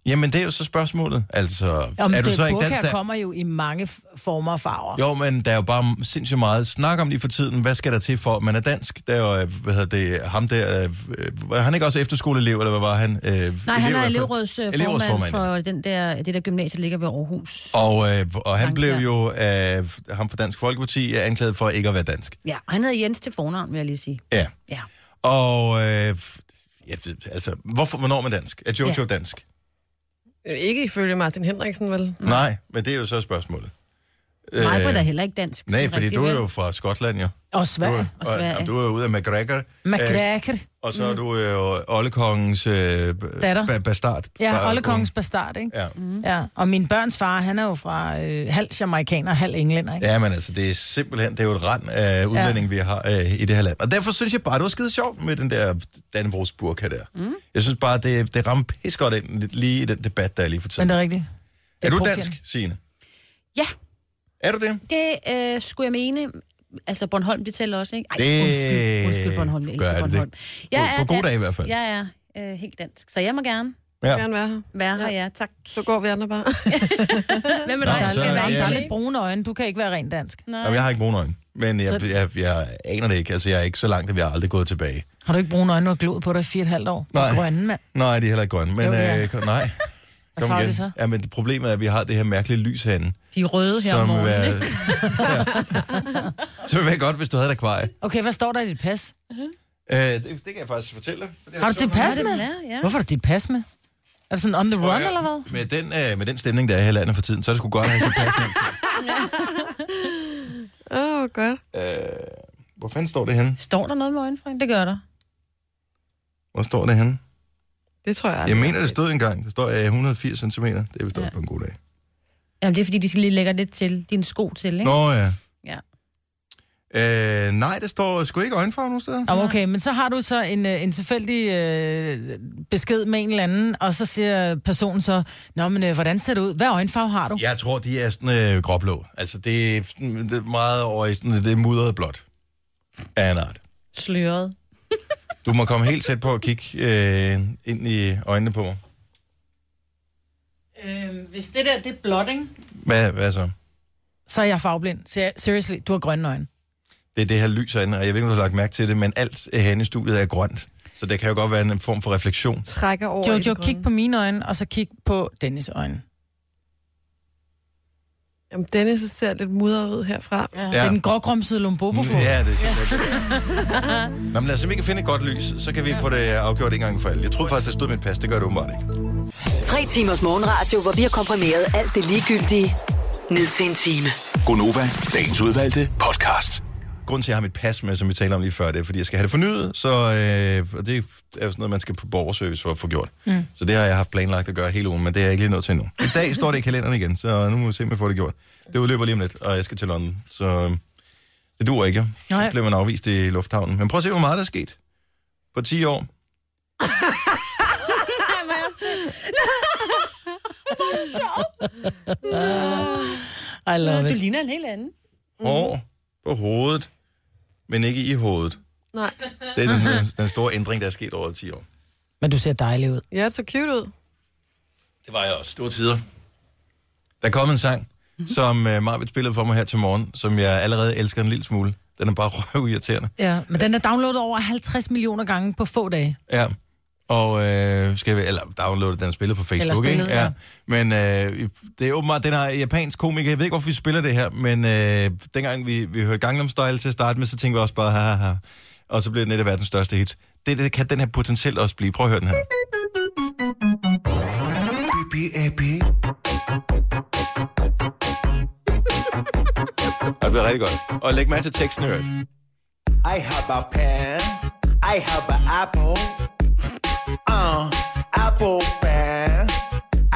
[SPEAKER 1] Jamen, det er jo så spørgsmålet. Altså,
[SPEAKER 2] Om
[SPEAKER 1] er du
[SPEAKER 2] det,
[SPEAKER 1] så ikke
[SPEAKER 2] burka
[SPEAKER 1] dansk? Der...
[SPEAKER 2] kommer jo i mange f- former og farver.
[SPEAKER 1] Jo, men der er jo bare sindssygt meget snak om lige for tiden. Hvad skal der til for, at man er dansk? Der er jo, øh, hvad hedder det, ham der, øh, var han ikke også efterskoleelev, eller hvad var han? Øh,
[SPEAKER 5] Nej, han er
[SPEAKER 1] elevrådsformand,
[SPEAKER 5] elevrådsformand for den der, det der gymnasie, der ligger ved Aarhus.
[SPEAKER 1] Og, øh, og han
[SPEAKER 5] Frank,
[SPEAKER 1] blev
[SPEAKER 5] ja.
[SPEAKER 1] jo, øh, ham fra Dansk Folkeparti, øh, anklaget for ikke at være dansk.
[SPEAKER 5] Ja, og han hedder Jens til fornavn, vil jeg lige sige.
[SPEAKER 1] Ja.
[SPEAKER 5] Ja.
[SPEAKER 1] Og, øh, f- ja, det- altså, hvorfor, hvornår er man dansk? Er Jojo ja. dansk?
[SPEAKER 5] Mm.
[SPEAKER 3] Øh, Ikke ifølge Martin Henriksen, vel?
[SPEAKER 1] Mm. Nej, men det er jo så spørgsmålet.
[SPEAKER 5] Øh, Majbert er heller ikke dansk.
[SPEAKER 1] Nej,
[SPEAKER 5] sådan
[SPEAKER 1] fordi
[SPEAKER 5] rigtig,
[SPEAKER 1] du er
[SPEAKER 5] vel?
[SPEAKER 1] jo fra Skotland, jo.
[SPEAKER 2] Og
[SPEAKER 1] Du,
[SPEAKER 2] Sverige.
[SPEAKER 5] og Sverige.
[SPEAKER 1] og, du er jo ude af McGregor. Øh,
[SPEAKER 2] McGregor.
[SPEAKER 1] Og så er du jo øh, oldekongens øh, b-
[SPEAKER 2] Mm. Datter.
[SPEAKER 1] ba- bastard.
[SPEAKER 2] Ja, Mm.
[SPEAKER 1] Bare- Mm.
[SPEAKER 2] Ollekongens bastard, ikke?
[SPEAKER 1] Ja.
[SPEAKER 2] Ja, og min børns far, han er jo fra øh, halv jamaikaner, halv englænder, ikke?
[SPEAKER 1] ja, men altså, det er simpelthen, det er jo et rand af udlænding, ja. vi har øh, i det her land. Og derfor synes jeg bare, det var skide sjovt med den der Dannebrogs burka der. Mm. Jeg synes bare, det, det rammer pis godt ind lidt lige i den debat, der er lige for
[SPEAKER 2] Men
[SPEAKER 1] tiden.
[SPEAKER 2] det
[SPEAKER 1] Er,
[SPEAKER 2] er rigtigt. Det
[SPEAKER 1] er du
[SPEAKER 2] provokerende.
[SPEAKER 1] dansk, Signe?
[SPEAKER 5] Ja,
[SPEAKER 1] Er du det?
[SPEAKER 5] det øh, skulle jeg mene. Altså, Bornholm, det tæller også, ikke? Ej,
[SPEAKER 1] Det
[SPEAKER 5] undskyld, undskyld Bornholm, jeg
[SPEAKER 1] gør
[SPEAKER 5] elsker
[SPEAKER 1] det det.
[SPEAKER 5] Bornholm. Jeg
[SPEAKER 1] På- på gode
[SPEAKER 5] dansk.
[SPEAKER 1] dage i hvert fald.
[SPEAKER 5] Jeg er øh, helt dansk, så jeg må gerne
[SPEAKER 3] Ja. Gerne være her.
[SPEAKER 5] være her,
[SPEAKER 3] Ja.
[SPEAKER 5] ja, tak.
[SPEAKER 3] Så går vi andre bare.
[SPEAKER 5] [LAUGHS]
[SPEAKER 3] [LAUGHS]
[SPEAKER 5] Hvem
[SPEAKER 1] Nå,
[SPEAKER 5] er dig?
[SPEAKER 2] Der er,
[SPEAKER 1] så-
[SPEAKER 2] lidt,
[SPEAKER 1] ja.
[SPEAKER 2] der er lidt brune øjne. Du kan ikke være rent dansk.
[SPEAKER 5] Nej.
[SPEAKER 1] Jamen, jeg har ikke brune øjne. Men jeg, jeg, jeg, jeg aner det ikke. Altså, jeg er ikke så langt, at vi har aldrig gået tilbage.
[SPEAKER 2] Har du ikke brune øjne og glod på dig i fire og et halvt år?
[SPEAKER 1] Nej.
[SPEAKER 2] Grønne, mand.
[SPEAKER 1] Nej, de er heller ikke grønne. Men
[SPEAKER 2] Jo, det er.
[SPEAKER 1] øh, kom- nej.
[SPEAKER 2] [LAUGHS] Hvad farve er det så?
[SPEAKER 1] Ja, men problemet er, at vi har det her mærkelige lys herinde.
[SPEAKER 5] De er røde her om
[SPEAKER 1] som
[SPEAKER 5] morgenen.
[SPEAKER 1] er- ja. [LAUGHS] Så ville det være godt, hvis du havde et akvarie.
[SPEAKER 2] Okay, hvad står der i dit pas?
[SPEAKER 1] Øh, det, det, kan jeg faktisk fortælle dig. for det
[SPEAKER 2] Har du dit pas
[SPEAKER 5] det
[SPEAKER 2] med?
[SPEAKER 5] er, ja.
[SPEAKER 2] Hvorfor har du dit pas med? Er det sådan on the
[SPEAKER 1] sjovt.
[SPEAKER 2] run, eller hvad?
[SPEAKER 1] Med den, øh, med den stemning, der er her i landet for tiden, så er det sgu godt at have sit pas nemt.
[SPEAKER 3] Åh, oh, godt.
[SPEAKER 1] øh, Hvor fanden står det henne?
[SPEAKER 5] Står der noget med øjenfrem? Det gør der.
[SPEAKER 1] Hvor står det henne?
[SPEAKER 3] Det tror jeg. aldrig,
[SPEAKER 1] Jeg mener,
[SPEAKER 3] har
[SPEAKER 1] det
[SPEAKER 3] set.
[SPEAKER 1] stod engang. Det står øh, 180 cm. Det er vist også på en god dag.
[SPEAKER 5] Jamen, det er fordi, de skal lige lægge lidt til. Din sko til, ikke?
[SPEAKER 1] Nå ja.
[SPEAKER 5] Ja.
[SPEAKER 1] Øh, nej, det står sgu ikke øjenfarve nogen steder.
[SPEAKER 2] Nå, okay, men så har du så en, øh, en tilfældig øh, besked med en eller anden, og så siger personen så, Nå, men øh, hvordan ser det ud? Hvad øjenfarve har du?
[SPEAKER 1] Jeg tror, de er sådan øh, gråblå. Altså, det er, sådan, det er meget over i sådan, det er mudret blåt. Af en art.
[SPEAKER 5] Sløret.
[SPEAKER 1] Du må komme helt tæt på at kigge øh, ind i øjnene på mig.
[SPEAKER 2] Øh, hvis det der, det er blot, ikke?
[SPEAKER 1] Hvad, hvad så?
[SPEAKER 2] Så er jeg farveblind. Så jeg, seriously, du har grønne øjne.
[SPEAKER 1] Det er det her lys herinde, og jeg ved ikke, om du har lagt mærke til det, men alt øh, herinde i studiet er grønt. Så det kan jo godt være en form for refleksion.
[SPEAKER 3] Trækker over i
[SPEAKER 2] Jojo,
[SPEAKER 3] det
[SPEAKER 2] kig
[SPEAKER 3] grønne.
[SPEAKER 2] på mine øjne, og så kig på Dennis' øjne.
[SPEAKER 3] Jamen, Dennis ser lidt mudret ud herfra. Ja.
[SPEAKER 2] Det er den grågrumsede lombobofod.
[SPEAKER 1] Ja, det er simpelthen Nå, men lad os, om vi kan finde et godt lys, så kan vi få det afgjort en gang for alle. Jeg troede faktisk, det stod med et pas. Det gør det åbenbart ikke.
[SPEAKER 6] Tre timers morgenradio, hvor vi har komprimeret alt det ligegyldige ned til en time.
[SPEAKER 7] Gonova, dagens udvalgte podcast.
[SPEAKER 1] Grunden til, at jeg har mit pas med, som vi talte om lige før, det er, fordi jeg skal have det fornyet. Så øh, og det er jo sådan noget, man skal på borgerservice for at få gjort. Mm. Så det har jeg haft planlagt at gøre hele ugen, men det er jeg ikke lige nået til endnu. I dag står det i kalenderen igen, så nu må vi se, om jeg får det gjort. Det udløber lige om lidt, og jeg skal til London. Så øh, det duer ikke. Nej.
[SPEAKER 2] Nej.
[SPEAKER 1] Så bliver man afvist i lufthavnen. Men prøv at se, hvor meget der er sket på 10 år.
[SPEAKER 2] I love
[SPEAKER 5] Du
[SPEAKER 2] it.
[SPEAKER 5] ligner en helt anden.
[SPEAKER 1] Hår på hovedet, men ikke i hovedet.
[SPEAKER 3] Nej.
[SPEAKER 1] Det er den, den store ændring, der er sket over 10 år.
[SPEAKER 2] Men du ser dejlig ud.
[SPEAKER 3] Ja, det så cute ud.
[SPEAKER 1] Det var jeg også. Det var tider. Der kom en sang, som uh, Marvitt spillede for mig her til morgen, som jeg allerede elsker en lille smule. Den er bare [LAUGHS] røvirriterende.
[SPEAKER 2] Ja, men den er downloadet over 50 millioner gange på få dage.
[SPEAKER 1] Ja. Og øh, skal vi, eller downloade den spillet på
[SPEAKER 2] Eller
[SPEAKER 1] Facebook,
[SPEAKER 2] spillet,
[SPEAKER 1] ikke? Ja. Men øh, det er åbenbart, den her japansk komiker, jeg ved ikke, hvorfor vi spiller det her, men øh, dengang vi, vi hørte Gangnam Style til at starte med, så tænkte vi også bare, haha, ha. og så blev det net af verdens største hit. Det, det kan den her potentielt også blive. Prøv at høre den her. Og det bliver rigtig godt. Og læg mærke til teksten, hørt.
[SPEAKER 8] I have a pen. I have an apple. Uh, apple pen.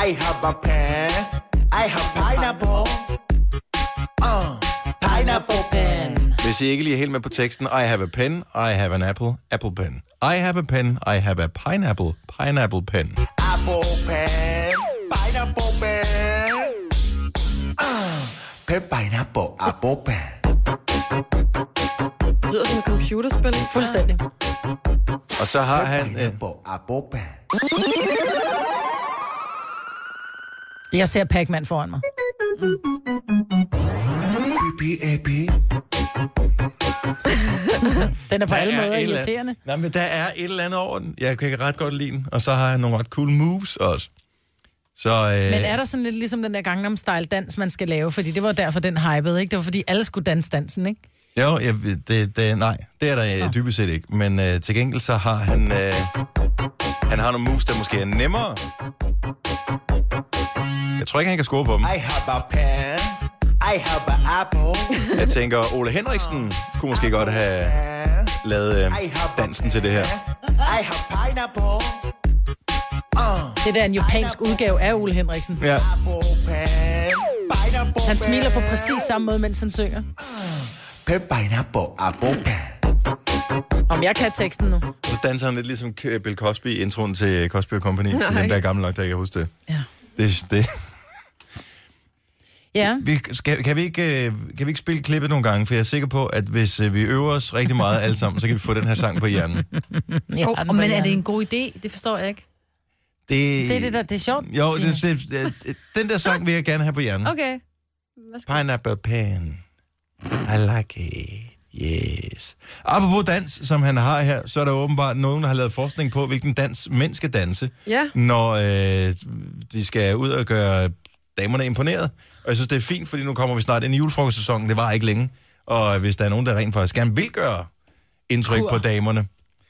[SPEAKER 8] I have a pen. I have pineapple. Uh, pineapple pen.
[SPEAKER 1] Hvis I ikke lige er helt med på teksten, I have a pen, I have an apple, apple pen. I have a pen, I have a pineapple, pineapple pen.
[SPEAKER 8] Apple pen. Pineapple pen. Uh, pen pineapple apple pen.
[SPEAKER 3] Det lyder som et computerspil.
[SPEAKER 2] Fuldstændig.
[SPEAKER 1] Og så har han... Øh,
[SPEAKER 8] Pineapple apple pen.
[SPEAKER 2] Jeg ser Pac-Man foran mig.
[SPEAKER 8] PPAP.
[SPEAKER 2] [LAUGHS] Den er på
[SPEAKER 1] der
[SPEAKER 2] alle
[SPEAKER 1] er
[SPEAKER 2] måder
[SPEAKER 1] et eller andet-
[SPEAKER 2] irriterende.
[SPEAKER 1] Nej, men der er et eller andet over den. Jeg kan ret godt lide den. Og så har han nogle ret cool moves også. Så øh,
[SPEAKER 2] Men er der sådan lidt ligesom den der Gangnam Style dans, man skal lave? Fordi det var derfor, den hypede, ikke? Det var fordi, alle skulle danse dansen, ikke?
[SPEAKER 1] jo, jeg, ved- det, det, nej, det er der øh, dybest set ikke. Men øh, til gengæld så har han, øh, han har nogle moves, der måske er nemmere. Jeg tror ikke, han kan score på dem.
[SPEAKER 8] I have a pen. I have an apple.
[SPEAKER 1] Jeg tænker, Ole Henriksen kunne måske godt have
[SPEAKER 8] Pen.
[SPEAKER 1] lavet øh,
[SPEAKER 8] I have
[SPEAKER 1] dansen til det her.
[SPEAKER 8] I have pineapple. Uh,
[SPEAKER 2] Det der er en japansk udgave af Ole Henriksen.
[SPEAKER 1] Ja.
[SPEAKER 8] apple pen. Pineapple
[SPEAKER 2] Han smiler på
[SPEAKER 8] pen.
[SPEAKER 2] præcis samme måde, mens han synger.
[SPEAKER 8] Pen, pineapple, apple pen.
[SPEAKER 2] Om jeg kan teksten nu.
[SPEAKER 1] Og så danser han lidt ligesom K- Bill Cosby i introen til Cosby Company. Nej. Til
[SPEAKER 3] Nej.
[SPEAKER 1] dem, der er gammel nok, der ikke kan huske det.
[SPEAKER 2] Ja.
[SPEAKER 1] det, det.
[SPEAKER 2] Ja.
[SPEAKER 1] Vi, skal, kan, vi ikke, øh, kan vi ikke spille klippet nogle gange? For jeg er sikker på, at hvis øh, vi øver os rigtig meget alle sammen, så kan vi få den her sang på hjernen.
[SPEAKER 2] ja
[SPEAKER 5] Oh, men er det en god idé? Det forstår jeg ikke.
[SPEAKER 1] Det,
[SPEAKER 2] Det er det, der det er sjovt.
[SPEAKER 1] Jo,
[SPEAKER 2] Signe.
[SPEAKER 1] det, det, det, den der sang vil jeg gerne have på hjernen. Okay.
[SPEAKER 5] Okay. Hvad skal...
[SPEAKER 1] Pineapple Pan. I like it. Yes. Apropos dans, som han har her, så er der åbenbart nogen, der har lavet forskning på, hvilken dans mænd skal danse.
[SPEAKER 3] Ja.
[SPEAKER 1] når øh, de skal ud og gøre damerne imponeret. Og jeg synes, det er fint, fordi nu kommer vi snart ind i julefrokostsæsonen. Det var ikke længe. Og hvis der er nogen, der rent faktisk gerne vil gøre indtryk Kur. på damerne,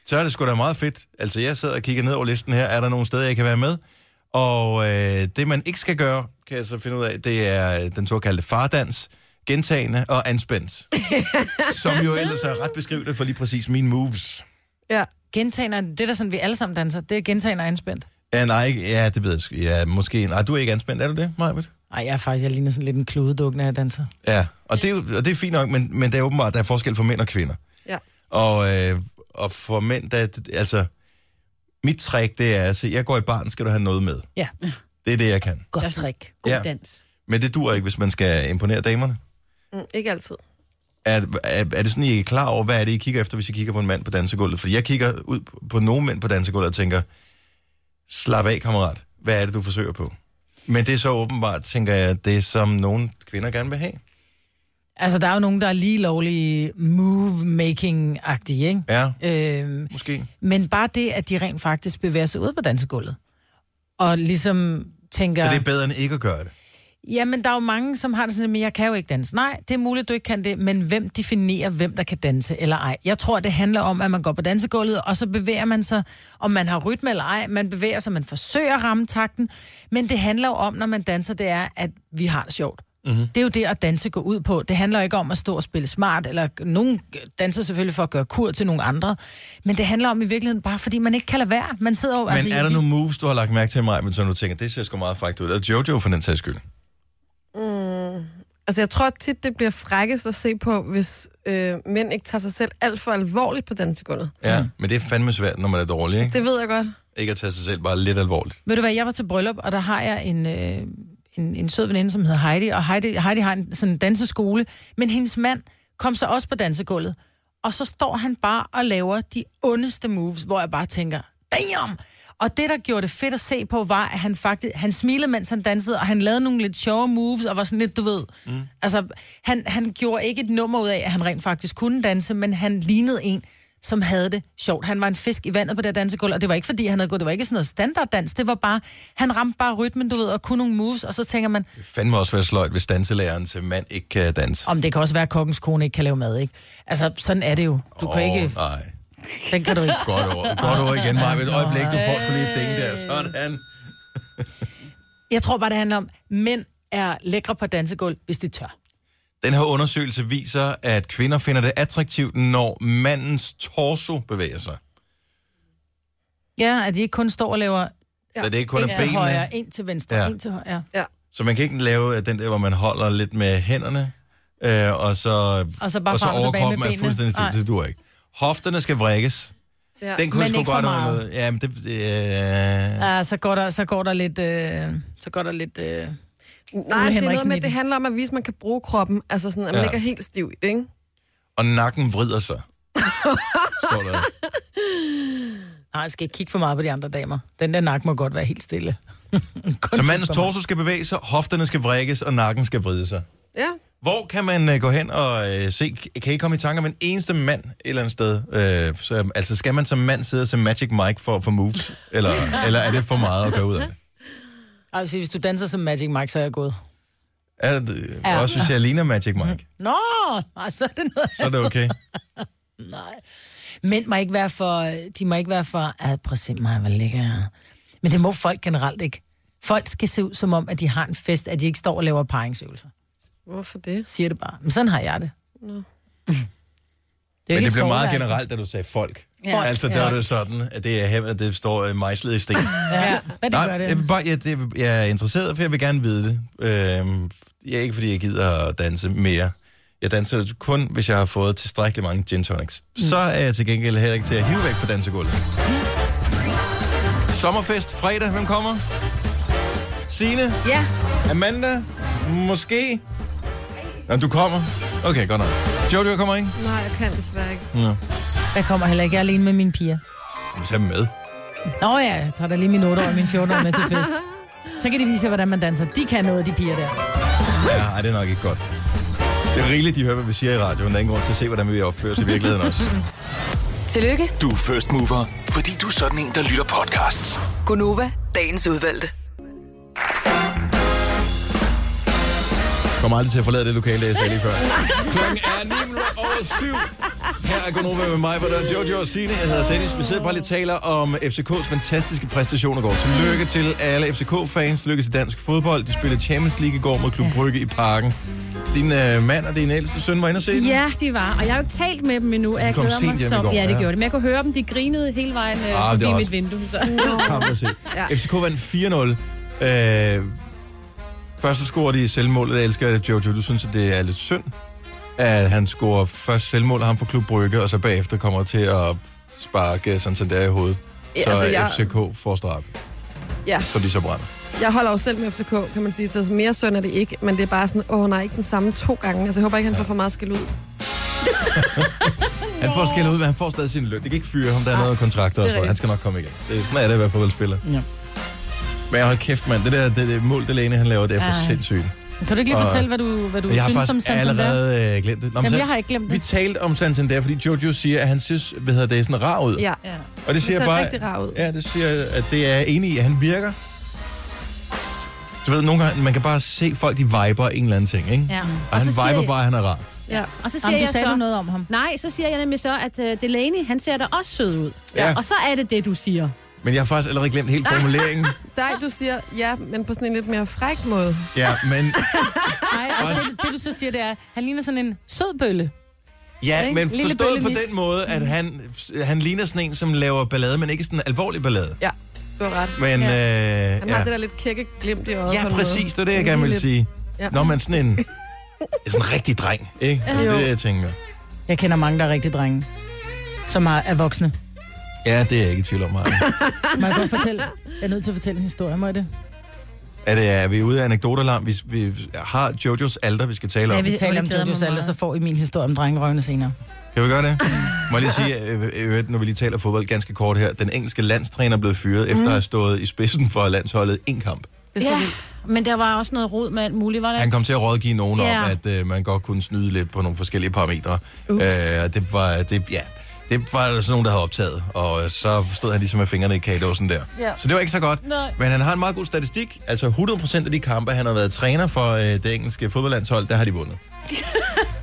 [SPEAKER 1] så er det sgu da meget fedt. Altså, jeg sidder og kigger ned over listen her. Er der nogle steder, jeg kan være med? Og øh, det, man ikke skal gøre, kan jeg så finde ud af, det er øh, den såkaldte fardans, gentagende og anspændt. som jo ellers er ret beskrivende for lige præcis mine moves.
[SPEAKER 3] Ja.
[SPEAKER 2] Gentager, det er der sådan, vi alle sammen danser. Det er gentager og anspændt.
[SPEAKER 1] Ja, nej, ikke- ja, det ved jeg sgu. Ja, måske. Nej, du er ikke anspændt, er du det, Majbet?
[SPEAKER 2] Ej, jeg er faktisk, jeg ligner sådan lidt en kludedukke, når jeg danser.
[SPEAKER 1] Ja, og det, er, jo- og det er fint nok, men, men det er åbenbart, der er forskel for mænd og kvinder.
[SPEAKER 3] Ja.
[SPEAKER 1] Og, øh, og for mænd, der, altså, mit trick, det er, altså, jeg går i barn, skal du have noget med.
[SPEAKER 2] Ja.
[SPEAKER 1] Det er det, jeg kan.
[SPEAKER 5] Godt trick. God
[SPEAKER 1] Ja.
[SPEAKER 5] dans.
[SPEAKER 1] Men det dur ikke, hvis man skal imponere damerne.
[SPEAKER 3] Mm, ikke altid.
[SPEAKER 1] Er, er, er det sådan, I er klar over, hvad er det, I kigger efter, hvis I kigger på en mand på dansegulvet? Fordi jeg kigger ud på- på nogle mænd på dansegulvet og tænker, slap af, kammerat. Hvad er det, du forsøger på? Men det er så åbenbart, tænker jeg, det som nogle kvinder gerne vil have.
[SPEAKER 2] Altså, der er jo nogen, der er lige lovlig move-making-agtige, ikke?
[SPEAKER 1] Ja,
[SPEAKER 2] Øhm,
[SPEAKER 1] måske.
[SPEAKER 2] men bare det, at de rent faktisk bevæger sig ud på dansegulvet, og ligesom tænker...
[SPEAKER 1] Så det er bedre end ikke at gøre det.
[SPEAKER 2] Jamen, der er jo mange, som har det sådan, men jeg kan jo ikke danse. Nej, det er muligt, du ikke kan det, men hvem definerer, hvem der kan danse eller ej? Jeg tror, det handler om, at man går på dansegulvet, og så bevæger man sig, om man har rytme eller ej. Man bevæger sig, man forsøger at ramme takten, men det handler jo om, når man danser, det er, at vi har det sjovt.
[SPEAKER 1] Mhm.
[SPEAKER 2] Mm-hmm. Det er jo det, at danse går ud på. Det handler ikke om at stå og spille smart, eller nogen danser selvfølgelig for at gøre kur til nogle andre, men det handler om i virkeligheden bare, fordi man ikke kan lade være. Man sidder jo...
[SPEAKER 1] Men altså, er der
[SPEAKER 2] vi-
[SPEAKER 1] nogle moves, du har lagt mærke til mig, men som du tænker, det ser sgu meget frækt ud? Eller Jojo for den sags skyld.
[SPEAKER 3] Altså, jeg tror tit, det bliver frækkest at se på, hvis øh, mænd ikke tager sig selv alt for alvorligt på dansegulvet.
[SPEAKER 1] Ja, mm. men det er fandme svært, når man er dårlig, ikke?
[SPEAKER 3] Det ved jeg godt.
[SPEAKER 1] Ikke at tage sig selv bare lidt alvorligt.
[SPEAKER 2] Ved du hvad, jeg var til bryllup, og der har jeg en, øh, en, en sød veninde, som hedder Heidi, og Heidi, Heidi har en sådan en danseskole, men hendes mand kom så også på dansegulvet, og så står han bare og laver de ondeste moves, hvor jeg bare tænker, damn! Og det, der gjorde det fedt at se på, var, at han faktisk, han smilede, mens han dansede, og han lavede nogle lidt sjove moves, og var sådan lidt, du ved, mm. altså, han, han gjorde ikke et nummer ud af, at han rent faktisk kunne danse, men han lignede en, som havde det sjovt. Han var en fisk i vandet på det her dansegulv, og det var ikke fordi, han havde gået, det var ikke sådan noget standarddans, det var bare, han ramte bare rytmen, du ved, og kunne nogle moves, og så tænker man,
[SPEAKER 1] Det fandme også være sløjt, hvis danselæreren til mand ikke kan danse.
[SPEAKER 2] om det kan også være, at kokkens kone ikke kan lave mad, ikke? Altså, sådan er det jo. Du oh. kan ikke,
[SPEAKER 1] Nej.
[SPEAKER 2] den kan du
[SPEAKER 1] [LAUGHS]
[SPEAKER 2] ikke.
[SPEAKER 1] Godt ord. Godt ord igen, Maja. Et øjeblik, du får sgu lige et ding der. Sådan.
[SPEAKER 2] Jeg tror bare, det handler om, mænd er lækre på dansegulv, hvis de tør.
[SPEAKER 1] Den her undersøgelse viser, at kvinder finder det attraktivt, når mandens torso bevæger sig.
[SPEAKER 2] Ja, at de ikke kun står og laver
[SPEAKER 1] Ja. Så det er ikke kun
[SPEAKER 2] en
[SPEAKER 1] er
[SPEAKER 2] til højre,
[SPEAKER 1] benene.
[SPEAKER 2] en til venstre,
[SPEAKER 1] Ja.
[SPEAKER 2] ja. en til højre. Ja.
[SPEAKER 1] Så man kan ikke lave øh, den der, hvor man holder lidt med hænderne, øh, og så,
[SPEAKER 2] Og så bare
[SPEAKER 1] og så
[SPEAKER 2] frem og tilbage med
[SPEAKER 1] overkroppen er
[SPEAKER 2] benene.
[SPEAKER 1] fuldstændig
[SPEAKER 2] Nej.
[SPEAKER 1] til. Det dur ikke. Hofterne skal vrikkes.
[SPEAKER 3] Ja.
[SPEAKER 1] Den kunne
[SPEAKER 2] Men
[SPEAKER 1] sgu
[SPEAKER 2] ikke for
[SPEAKER 1] godt have
[SPEAKER 2] meget.
[SPEAKER 1] noget. Ja, men det, øh,
[SPEAKER 2] Ja, så går der, så går der lidt, øh, så går der lidt, øh,
[SPEAKER 3] Nej, det er noget
[SPEAKER 2] Henriksen
[SPEAKER 3] med,
[SPEAKER 2] i
[SPEAKER 3] at det
[SPEAKER 2] den.
[SPEAKER 3] handler om at vise, at man kan bruge kroppen. Altså sådan, at man
[SPEAKER 1] Ja.
[SPEAKER 3] ja. ligger helt stiv i det, ikke?
[SPEAKER 1] og nakken vrider
[SPEAKER 2] [LAUGHS]
[SPEAKER 1] sig. Står der.
[SPEAKER 2] Nej, jeg skal ikke kigge for meget på de andre damer. Den der nakke må godt være helt stille. Kun
[SPEAKER 1] Så mandens
[SPEAKER 2] kigge på mig.
[SPEAKER 1] torso skal bevæge sig, hofterne skal vrikkes, og nakken skal vride sig.
[SPEAKER 3] Ja.
[SPEAKER 1] Hvor kan man øh, gå hen og øh, se, kan I komme i tanke om en eneste mand et eller andet sted? Øh, så, altså skal man som mand sidde og se Magic Mike for at få moves? Eller, eller er det for meget at gøre ud af det?
[SPEAKER 2] Ej, jeg vil sige, hvis du danser som Magic Mike, så er jeg gået.
[SPEAKER 1] Er det
[SPEAKER 2] Ja.
[SPEAKER 1] også hvis jeg ligner Magic Mike,
[SPEAKER 2] Nå, [LAUGHS] nej, så er det noget.
[SPEAKER 1] så er det okay.
[SPEAKER 2] Nej. Mænd må ikke være for, de må ikke være for, at prøv at se mig, hvor ligger jeg. Men det må folk generelt ikke. Folk skal se ud som om, at de har en fest, at de ikke står og laver paringsøvelser.
[SPEAKER 3] Hvorfor det?
[SPEAKER 2] Siger det bare. Men sådan har jeg [LAUGHS] det. Nå. Det er
[SPEAKER 1] Men
[SPEAKER 2] jo ikke
[SPEAKER 1] det
[SPEAKER 2] et
[SPEAKER 1] blev meget
[SPEAKER 2] soveværelse.
[SPEAKER 1] generelt, da du sagde folk.
[SPEAKER 2] altså. Ja.
[SPEAKER 1] Altså, der
[SPEAKER 2] Ja.
[SPEAKER 1] var det sådan, at det er her, at det står øh, mejslet i sten.
[SPEAKER 2] Ja, men det gør
[SPEAKER 1] Nej, jeg, vil
[SPEAKER 2] det.
[SPEAKER 1] bare, jeg, det, jeg er interesseret, for jeg vil gerne vide det. Øhm, jeg er ikke, fordi jeg gider at danse mere. Jeg danser kun, hvis jeg har fået tilstrækkeligt mange gin tonics. Mm. Så er jeg til gengæld heller ikke til at hive væk fra dansegulvet. Sommerfest fredag, hvem kommer? Sine?
[SPEAKER 5] Ja.
[SPEAKER 1] Amanda? Måske? Nå, du kommer? Okay, godt nok. Jojo kommer ikke?
[SPEAKER 3] Nej, jeg kan desværre ikke.
[SPEAKER 1] Nå,
[SPEAKER 2] Jeg kommer heller ikke. Jeg er alene med mine piger.
[SPEAKER 1] vi tager dem med.
[SPEAKER 2] Nå ja, jeg tager da lige min 8 og min 14 med til fest. Så kan de vise jer, hvordan man danser. De kan noget, de piger der.
[SPEAKER 1] Ja, ej, det er nok ikke godt. Det er rigeligt, de hører, hvad vi siger i radioen. Der er ingen grund til at se, hvordan vi opfører os i virkeligheden også.
[SPEAKER 6] Tillykke,
[SPEAKER 7] Du er first mover, fordi du er sådan en, der lytter podcasts.
[SPEAKER 6] Gunova, dagens udvalgte.
[SPEAKER 1] Kommer aldrig til at forlade det lokale, jeg sagde lige før. [LAUGHS] Klokken er 9 minutter over 7. Her er Gunova med mig, hvor der er Jojo og Signe. Jeg hedder Dennis. Vi sidder bare lige og taler om FCK's fantastiske præstationer i går. Tillykke til alle FCK-fans. Tillykke til dansk fodbold. De spillede Champions League i går mod Klub Brygge i parken. Din øh, mand og din ældste søn var inde og se den.
[SPEAKER 5] Ja, de var. Og jeg har jo ikke talt med dem endnu. og Jeg
[SPEAKER 1] kom
[SPEAKER 5] glæder
[SPEAKER 1] sent
[SPEAKER 5] mig
[SPEAKER 1] hjem i
[SPEAKER 5] som...
[SPEAKER 1] går,
[SPEAKER 5] ja, det
[SPEAKER 1] ja.
[SPEAKER 5] gjorde det. Men jeg kunne høre dem. De grinede hele vejen øh,
[SPEAKER 1] Ah,
[SPEAKER 5] forbi
[SPEAKER 1] det er også-
[SPEAKER 5] mit vindue. Så.
[SPEAKER 1] fed kamp at se. ja. FCK vandt 4-0. Øh, først så scorer de selvmålet. Jeg elsker at Jojo. Du synes, at det er lidt synd, at han scorer først selvmålet ham for Klub Brygge, og så bagefter kommer til at sparke sådan sådan der i hovedet.
[SPEAKER 3] Ja,
[SPEAKER 1] Så
[SPEAKER 3] altså, jeg-
[SPEAKER 1] FCK får straf,
[SPEAKER 3] Ja.
[SPEAKER 1] så de så brænder.
[SPEAKER 3] Mm. Jeg holder jo selv med FCK, kan man sige, så mere synd er det ikke. Men det er bare sådan, åh nej, ikke den samme to gange. Altså, jeg håber ikke, han får for meget skæld ud.
[SPEAKER 1] Han får skæld ud, men han får stadig sin løn. Det kan ikke fyre ham, der er noget kontrakter og
[SPEAKER 3] Ah, det er
[SPEAKER 1] sådan noget. Han skal nok komme igen. Det er sådan er det i hvert fald spiller.
[SPEAKER 2] Ja.
[SPEAKER 1] Men hold kæft, mand. Det der det, det mål, det Lene, han laver, det er for
[SPEAKER 2] Ej.
[SPEAKER 1] sindssygt.
[SPEAKER 2] Kan du ikke lige
[SPEAKER 1] Og-
[SPEAKER 2] fortælle, hvad du, hvad du
[SPEAKER 1] jeg har
[SPEAKER 2] synes
[SPEAKER 1] faktisk
[SPEAKER 2] som Santander?
[SPEAKER 1] allerede øh, glemt det. Nå, men
[SPEAKER 2] Jamen,
[SPEAKER 1] så-
[SPEAKER 2] jeg har ikke glemt
[SPEAKER 1] Vi
[SPEAKER 2] det.
[SPEAKER 1] talte om Santander, fordi Jojo siger, at han synes, hvad hedder det, er sådan rar ud.
[SPEAKER 3] Ja.
[SPEAKER 5] Ja.
[SPEAKER 1] og det
[SPEAKER 3] Han
[SPEAKER 1] siger
[SPEAKER 3] ser
[SPEAKER 1] jeg bare,
[SPEAKER 3] rigtig rar ud.
[SPEAKER 1] Ja, det siger jeg, at det er jeg enig i, at han virker Du ved, nogle gange, man kan bare se folk, de viber en eller anden ting, ikke?
[SPEAKER 9] Ja.
[SPEAKER 1] Og,
[SPEAKER 5] Mm. Og
[SPEAKER 1] han
[SPEAKER 5] så siger
[SPEAKER 1] viber
[SPEAKER 5] jeg-
[SPEAKER 1] bare, at han er rar.
[SPEAKER 3] Ja.
[SPEAKER 5] Og så siger
[SPEAKER 9] Jamen,
[SPEAKER 5] jeg
[SPEAKER 9] du sagde
[SPEAKER 5] så,
[SPEAKER 9] du noget om ham.
[SPEAKER 5] Nej, så siger jeg nemlig så, at uh, Delaney, han ser da også sød ud.
[SPEAKER 1] Ja.
[SPEAKER 5] Og så er det det, du siger.
[SPEAKER 1] Men jeg har faktisk allerede glemt hele formuleringen.
[SPEAKER 3] [LAUGHS] Dig, du siger ja, men på sådan en lidt mere fræk måde.
[SPEAKER 1] ja, men,
[SPEAKER 2] Nej, og det, det, du så siger, det er, han ligner sådan en sød bølle.
[SPEAKER 1] ja,
[SPEAKER 2] Ikke?
[SPEAKER 1] men
[SPEAKER 2] Lille
[SPEAKER 1] forstået på
[SPEAKER 2] bøllemis.
[SPEAKER 1] den måde, at han, han ligner sådan en, som laver ballade, men ikke sådan en alvorlig ballade.
[SPEAKER 3] Ja, du har ret.
[SPEAKER 1] Men,
[SPEAKER 2] Ja.
[SPEAKER 1] ja. Øh,
[SPEAKER 3] Han har
[SPEAKER 1] ja.
[SPEAKER 3] det der lidt kække glimt i øjet. på
[SPEAKER 1] ja,
[SPEAKER 3] en
[SPEAKER 1] præcis, det
[SPEAKER 3] måde.
[SPEAKER 1] er det, jeg gerne vil
[SPEAKER 3] Lidt-
[SPEAKER 1] sige.
[SPEAKER 3] Ja.
[SPEAKER 1] Når man
[SPEAKER 3] [LAUGHS]
[SPEAKER 1] sådan en, sådan en rigtig dreng, ikke? Det er
[SPEAKER 3] Jo.
[SPEAKER 1] det, jeg tænker.
[SPEAKER 9] Jeg kender mange, der er rigtig drenge, som er, er voksne.
[SPEAKER 1] Ja, det er jeg ikke i tvivl om, Maja.
[SPEAKER 9] Må jeg godt fortælle? Jeg er nødt til at fortælle en historie, må jeg det?
[SPEAKER 1] Er det, er vi ude af anekdotalarm? Vi, vi har Jojos alder, vi skal tale om.
[SPEAKER 9] Ja, vi
[SPEAKER 5] det
[SPEAKER 9] taler om
[SPEAKER 5] glæder mig
[SPEAKER 9] Jojos alder,
[SPEAKER 5] meget.
[SPEAKER 9] så får I min historie om drengerøvene senere.
[SPEAKER 1] Kan vi gøre det? Må jeg lige sige, øh, øh, når vi lige taler fodbold ganske kort her. Den engelske landstræner er blevet fyret, efter at have stået i spidsen for landsholdet en kamp.
[SPEAKER 3] Det er så vildt.
[SPEAKER 5] men der var også noget rod med alt muligt, var det?
[SPEAKER 1] Han kom til at rådgive nogen yeah. om,
[SPEAKER 5] Ja.
[SPEAKER 1] at øh, man godt kunne snyde lidt på nogle forskellige parametre. Øh, og det var, det, ja, det var der sådan nogen, der havde optaget, og øh, så stod han ligesom med fingrene i kagedåsen der.
[SPEAKER 5] Ja.
[SPEAKER 1] Så det var ikke så godt.
[SPEAKER 5] Nej.
[SPEAKER 1] Men han har en meget god statistik. Altså 100% af de kampe, han har været træner for øh, det engelske fodboldlandshold, der har de vundet.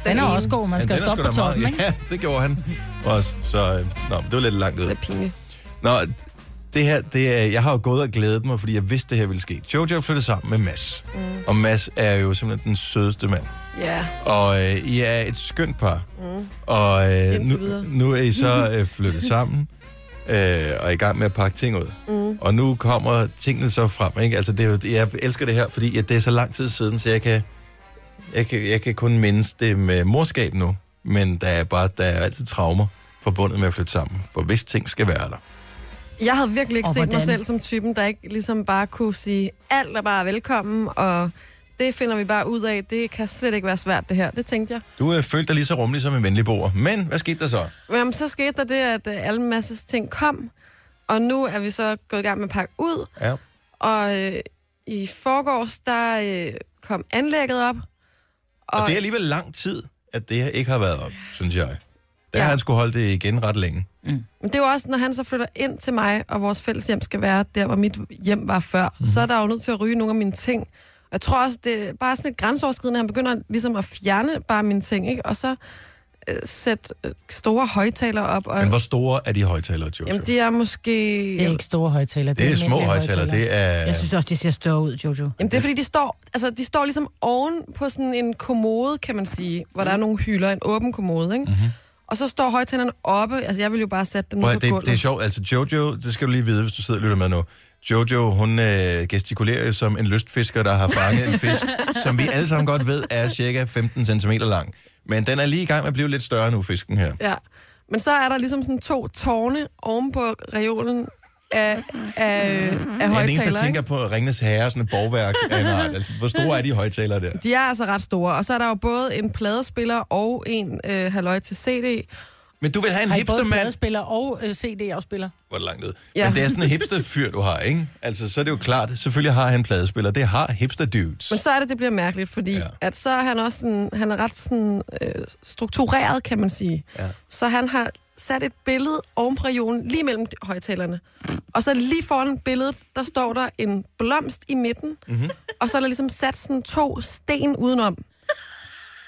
[SPEAKER 9] Den er også god, man skal
[SPEAKER 1] Men den er
[SPEAKER 9] stoppe på
[SPEAKER 1] sgu da meget-
[SPEAKER 9] toppen, ikke?
[SPEAKER 1] Ja, det gjorde han også. Så øh, nå, det var lidt langt ud.
[SPEAKER 3] Det er pinligt.
[SPEAKER 1] Nå, det her, det er, jeg har jo gået og glædet mig, fordi jeg vidste, det her ville ske. Jojo flyttede sammen med Mads. Mm. Og Mads er jo simpelthen den sødeste mand.
[SPEAKER 3] Ja,
[SPEAKER 1] Og øh, I er et skønt par. Mm. Og øh,
[SPEAKER 3] Indtil
[SPEAKER 1] nu,
[SPEAKER 3] videre.
[SPEAKER 1] nu er I så øh, flyttet sammen. Øh, og er i gang med at pakke ting ud. Mm. Og nu kommer tingene så frem. Ikke? Altså, det er, jo- jeg elsker det her, fordi at det er så lang tid siden, så jeg kan, jeg kan, jeg kan kun mindes det med morskab nu. Men der er bare der er altid traumer forbundet med at flytte sammen. For hvis ting skal være der.
[SPEAKER 3] Jeg havde virkelig ikke
[SPEAKER 9] Og
[SPEAKER 3] set mig
[SPEAKER 9] hvordan?
[SPEAKER 3] selv som typen, der ikke ligesom bare kunne sige, alt er bare velkommen, og det finder vi bare ud af. Det kan slet ikke være svært, det her. Det tænkte jeg.
[SPEAKER 1] Du øh, følte dig lige så rummelig som en venlig bor. Men hvad skete der så?
[SPEAKER 3] Men jamen, så skete der det, at øh, alle masses ting kom, og nu er vi så gået i gang med at pakke ud,
[SPEAKER 1] Ja.
[SPEAKER 3] og øh, i forgårs, der øh, kom anlægget op.
[SPEAKER 1] Og det er alligevel lang tid, at det her ikke har været op, synes jeg. Der ja.
[SPEAKER 3] Ja.
[SPEAKER 1] har han skulle holde det igen ret længe.
[SPEAKER 3] Men det er jo også, når han så flytter ind til mig, og vores fælles hjem skal være der, hvor mit hjem var før,
[SPEAKER 1] Mhm.
[SPEAKER 3] mm. så er der jo nødt til at ryge nogle af mine ting. Og jeg tror også, det er bare sådan lidt grænseoverskridende, at han begynder ligesom at fjerne bare mine ting, ikke? Og så øh, sætte øh, store højtalere op. Og,
[SPEAKER 1] Men hvor store er de højtalere, Jojo?
[SPEAKER 3] jamen, de er måske...
[SPEAKER 9] Det er ikke store højtaler.
[SPEAKER 1] det er små
[SPEAKER 9] almindelige
[SPEAKER 1] højtalere. Det er...
[SPEAKER 5] Jeg synes også, de ser større ud, Jojo.
[SPEAKER 3] Jamen, det er fordi, de står, altså, de står ligesom oven på sådan en kommode, kan man sige, hvor der
[SPEAKER 1] Mhm.
[SPEAKER 3] er nogle hylder, en åben kommode, ikke? Mm-hmm. Og så står højtalerne oppe. Altså, jeg vil jo bare sætte dem
[SPEAKER 1] Prøv,
[SPEAKER 3] ned
[SPEAKER 1] at-
[SPEAKER 3] på
[SPEAKER 1] det,
[SPEAKER 3] gulvet.
[SPEAKER 1] det er sjovt. Altså, Jojo, det skal du lige vide, hvis du sidder og lytter med nu. Jojo, hun øh, gestikulerer jo som en lystfisker, der har fanget en fisk, som vi alle sammen godt ved er cirka 15 cm lang. Men den er lige i gang med at blive lidt større nu, fisken her.
[SPEAKER 3] Ja. Men så er der ligesom sådan to tårne oven på reolen af, af,
[SPEAKER 1] Jeg
[SPEAKER 3] af
[SPEAKER 1] er Mhm. den eneste,
[SPEAKER 3] højtalere.
[SPEAKER 1] der tænker
[SPEAKER 3] ikke?
[SPEAKER 1] på Ringnes Herre, sådan et borgværk af en art. Altså, hvor store er de højtalere der?
[SPEAKER 3] De er altså ret store. Og så er der jo både en pladespiller og en øh, halvøj til CD.
[SPEAKER 1] Men du vil have en
[SPEAKER 2] Har I både
[SPEAKER 1] hipstermand.
[SPEAKER 2] pladespiller og øh, CD-afspiller?
[SPEAKER 1] Hvor er det langt ud. Ja.
[SPEAKER 3] Ja.
[SPEAKER 1] Men det er sådan en hipsterfyr, du har, ikke? Altså, så er det jo klart, selvfølgelig har han en pladespiller. Det har hipster dudes.
[SPEAKER 3] Men så er det, det bliver mærkeligt, fordi
[SPEAKER 1] Ja.
[SPEAKER 3] ja. at så er han også sådan, han er ret sådan, øh, struktureret, kan man sige.
[SPEAKER 1] Ja.
[SPEAKER 3] Så han har sat et billede oven på reolen, lige mellem de- højtalerne. Og så lige foran billedet, der står der en blomst i midten,
[SPEAKER 1] Mhm.
[SPEAKER 3] mm-hmm. og så er der ligesom sat sådan to sten udenom.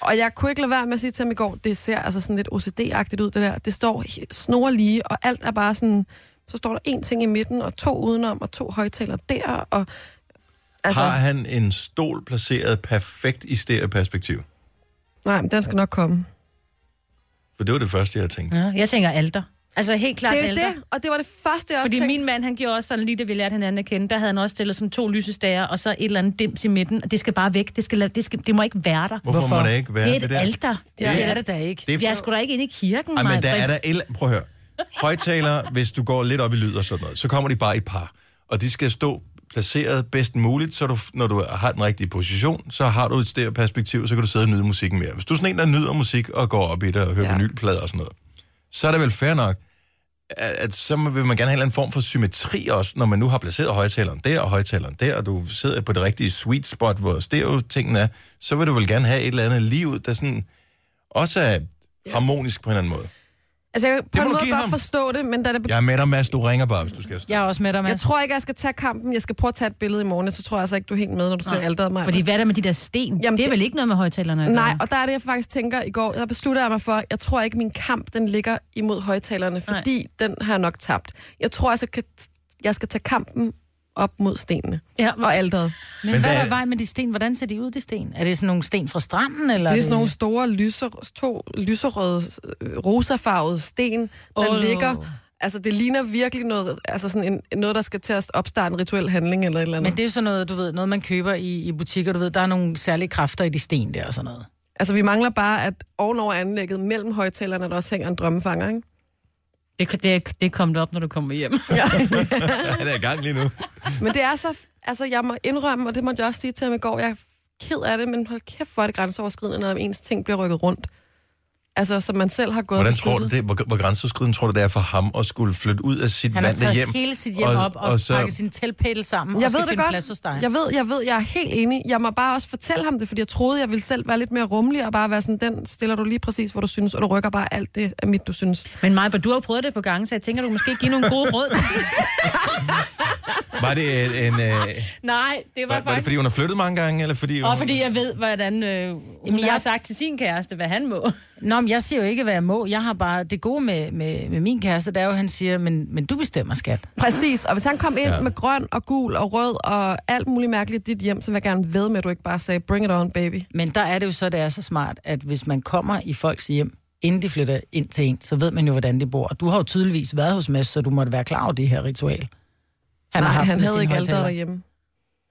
[SPEAKER 3] Og jeg kunne ikke lade være med at sige til ham i går, det ser altså sådan lidt OCD-agtigt ud, det der. Det står he- snor lige, og alt er bare sådan... Så står der en ting i midten, og to udenom, og to højtaler der, og... Altså,
[SPEAKER 1] Har han en stol placeret perfekt i stereoperspektiv?
[SPEAKER 3] nej, men den skal nok komme.
[SPEAKER 1] For det var det første, jeg tænkte.
[SPEAKER 5] Ja, jeg tænker alter. Altså helt klart
[SPEAKER 3] Det er jo
[SPEAKER 5] alter.
[SPEAKER 3] det, og det var det første, jeg også
[SPEAKER 5] Fordi
[SPEAKER 3] tænkte.
[SPEAKER 5] min mand, han gjorde også sådan lige, da vi lærte hinanden at kende, der havde han også stillet sådan to lysestager, og så et eller andet dims i midten, og det skal bare væk. Det, skal, la- det, skal, det må ikke være der.
[SPEAKER 1] Hvorfor, Hvorfor?
[SPEAKER 9] Hvorfor?
[SPEAKER 1] må det ikke være
[SPEAKER 5] det er et
[SPEAKER 1] der?
[SPEAKER 5] alter.
[SPEAKER 9] Det er det da ikke.
[SPEAKER 1] Det er
[SPEAKER 5] Vi er sgu da ikke inde i kirken,
[SPEAKER 1] Ej, men
[SPEAKER 5] Maja
[SPEAKER 1] der er
[SPEAKER 5] Brits.
[SPEAKER 1] der... El... Prøv at høre. Højtaler, hvis du går lidt op i lyd og sådan noget, så kommer de bare i par. Og de skal stå placeret bedst muligt, så du, når du har den rigtige position, så har du et stereoperspektiv, så kan du sidde og nyde musikken mere. Hvis du er sådan en, der nyder musik og går op i det og hører ja.
[SPEAKER 3] Ja.
[SPEAKER 1] vinylplader og sådan noget, så er det vel fair nok, at, at så vil man gerne have en eller anden form for symmetri også, når man nu har placeret højtaleren der og højtaleren der, og du sidder på det rigtige sweet spot, hvor stereo-tingen er, så vil du vel gerne have et eller andet liv, der sådan også er harmonisk på en eller anden måde.
[SPEAKER 3] Altså, jeg kan på
[SPEAKER 1] må
[SPEAKER 3] en
[SPEAKER 1] du
[SPEAKER 3] måde
[SPEAKER 1] give
[SPEAKER 3] godt
[SPEAKER 1] ham.
[SPEAKER 3] forstå det, men da det
[SPEAKER 1] Jeg er med dig, Mads. Du ringer bare, hvis du skal afsted.
[SPEAKER 2] Jeg er også med dig, Mads.
[SPEAKER 3] Jeg tror ikke, jeg skal tage kampen. Jeg skal prøve at tage et billede i morgen, så tror jeg altså ikke, du er helt med, når du ser alderet mig.
[SPEAKER 5] Fordi hvad er der med de der sten?
[SPEAKER 3] Jamen,
[SPEAKER 5] Jamen, det er
[SPEAKER 3] det-
[SPEAKER 5] vel ikke noget med højtalerne at
[SPEAKER 3] Nej,
[SPEAKER 5] gøre?
[SPEAKER 3] og der er det, jeg faktisk tænker i går. Der besluttede jeg mig for, jeg tror ikke, min kamp den ligger imod højtalerne, fordi Nej. den har jeg nok tabt. Jeg tror altså, kan- jeg skal tage kampen op mod stenene
[SPEAKER 5] Ja,
[SPEAKER 3] og alderet.
[SPEAKER 2] Men,
[SPEAKER 1] Men
[SPEAKER 2] Men hvad
[SPEAKER 1] hvad-
[SPEAKER 2] er der vej med de sten? Hvordan ser de ud, de sten? Er det sådan nogle sten fra stranden? Eller
[SPEAKER 3] Det er sådan nogle store, lyser, to lyserøde, øh, rosafarvede sten, der
[SPEAKER 2] Åh.
[SPEAKER 3] oh. ligger... Altså, det ligner virkelig noget, altså sådan en, noget, der skal til at opstarte en rituel handling eller et eller andet.
[SPEAKER 2] Men det er jo sådan noget, du ved, noget man køber i, i butikker, du ved, der er nogle særlige kræfter i de sten der og sådan noget.
[SPEAKER 3] Altså, vi mangler bare, at ovenover anlægget mellem højtalerne, der også hænger en drømmefanger, ikke?
[SPEAKER 1] Mm.
[SPEAKER 5] Det, det, det kom du op, når du kommer hjem.
[SPEAKER 1] Han er i gang lige nu.
[SPEAKER 3] Men det er så... Altså, jeg må indrømme, og det måtte jeg også sige til ham i går, jeg er ked af det, men hold kæft, hvor er det grænseoverskridende, når ens ting bliver rykket rundt. Altså, som man selv har gået og
[SPEAKER 1] Hvordan tror du
[SPEAKER 3] besluttet.
[SPEAKER 1] det, hvor, hvor grænseoverskridende tror du, det er for ham at skulle flytte ud af sit
[SPEAKER 2] Han har
[SPEAKER 1] vand
[SPEAKER 2] taget
[SPEAKER 1] hjem?
[SPEAKER 2] hele sit hjem op og, og så... pakket sin teltpæl sammen og
[SPEAKER 3] Jeg
[SPEAKER 2] skal
[SPEAKER 3] ved det
[SPEAKER 2] finde
[SPEAKER 3] godt.
[SPEAKER 2] plads hos dig.
[SPEAKER 3] Jeg ved, jeg ved, jeg er helt enig. Jeg må bare også fortælle ham det, fordi jeg troede, jeg ville selv være lidt mere rummelig og bare være sådan, den stiller du lige præcis, hvor du synes, og du rykker bare alt det af mit, du synes.
[SPEAKER 5] [LAUGHS] Men Maja, du har jo prøvet det på gange, så jeg tænker, du måske give nogle [LAUGHS] gode råd.
[SPEAKER 1] Var det en... en øh,
[SPEAKER 5] Nej, det var,
[SPEAKER 1] var, var det,
[SPEAKER 5] faktisk...
[SPEAKER 1] fordi hun har flyttet mange gange, eller fordi hun...
[SPEAKER 5] Og fordi jeg ved, hvordan øh, hun
[SPEAKER 2] Jamen,
[SPEAKER 5] Jamen,
[SPEAKER 2] jeg-
[SPEAKER 5] jeg... har sagt til sin kæreste, hvad han må.
[SPEAKER 2] Nå, men jeg siger jo ikke, hvad jeg må. Jeg har bare det gode med, med, med min kæreste, det er jo, at han siger, men, men du bestemmer, skat.
[SPEAKER 3] Præcis, og hvis han kom ind
[SPEAKER 1] Ja.
[SPEAKER 3] ja. med grøn og gul og rød og alt muligt mærkeligt i dit hjem, så vil jeg gerne ved med, at du ikke bare sagde, bring it on, baby.
[SPEAKER 2] Men der er det jo så, det er så smart, at hvis man kommer i folks hjem, inden de flytter ind til en, så ved man jo, hvordan de bor. Og du har jo tydeligvis været hos Mads, så du måtte være klar over det her ritual. Han
[SPEAKER 3] Nej,
[SPEAKER 2] haft
[SPEAKER 3] han
[SPEAKER 2] med
[SPEAKER 3] havde
[SPEAKER 2] sine
[SPEAKER 3] ikke alt
[SPEAKER 2] højtalere.
[SPEAKER 3] derhjemme.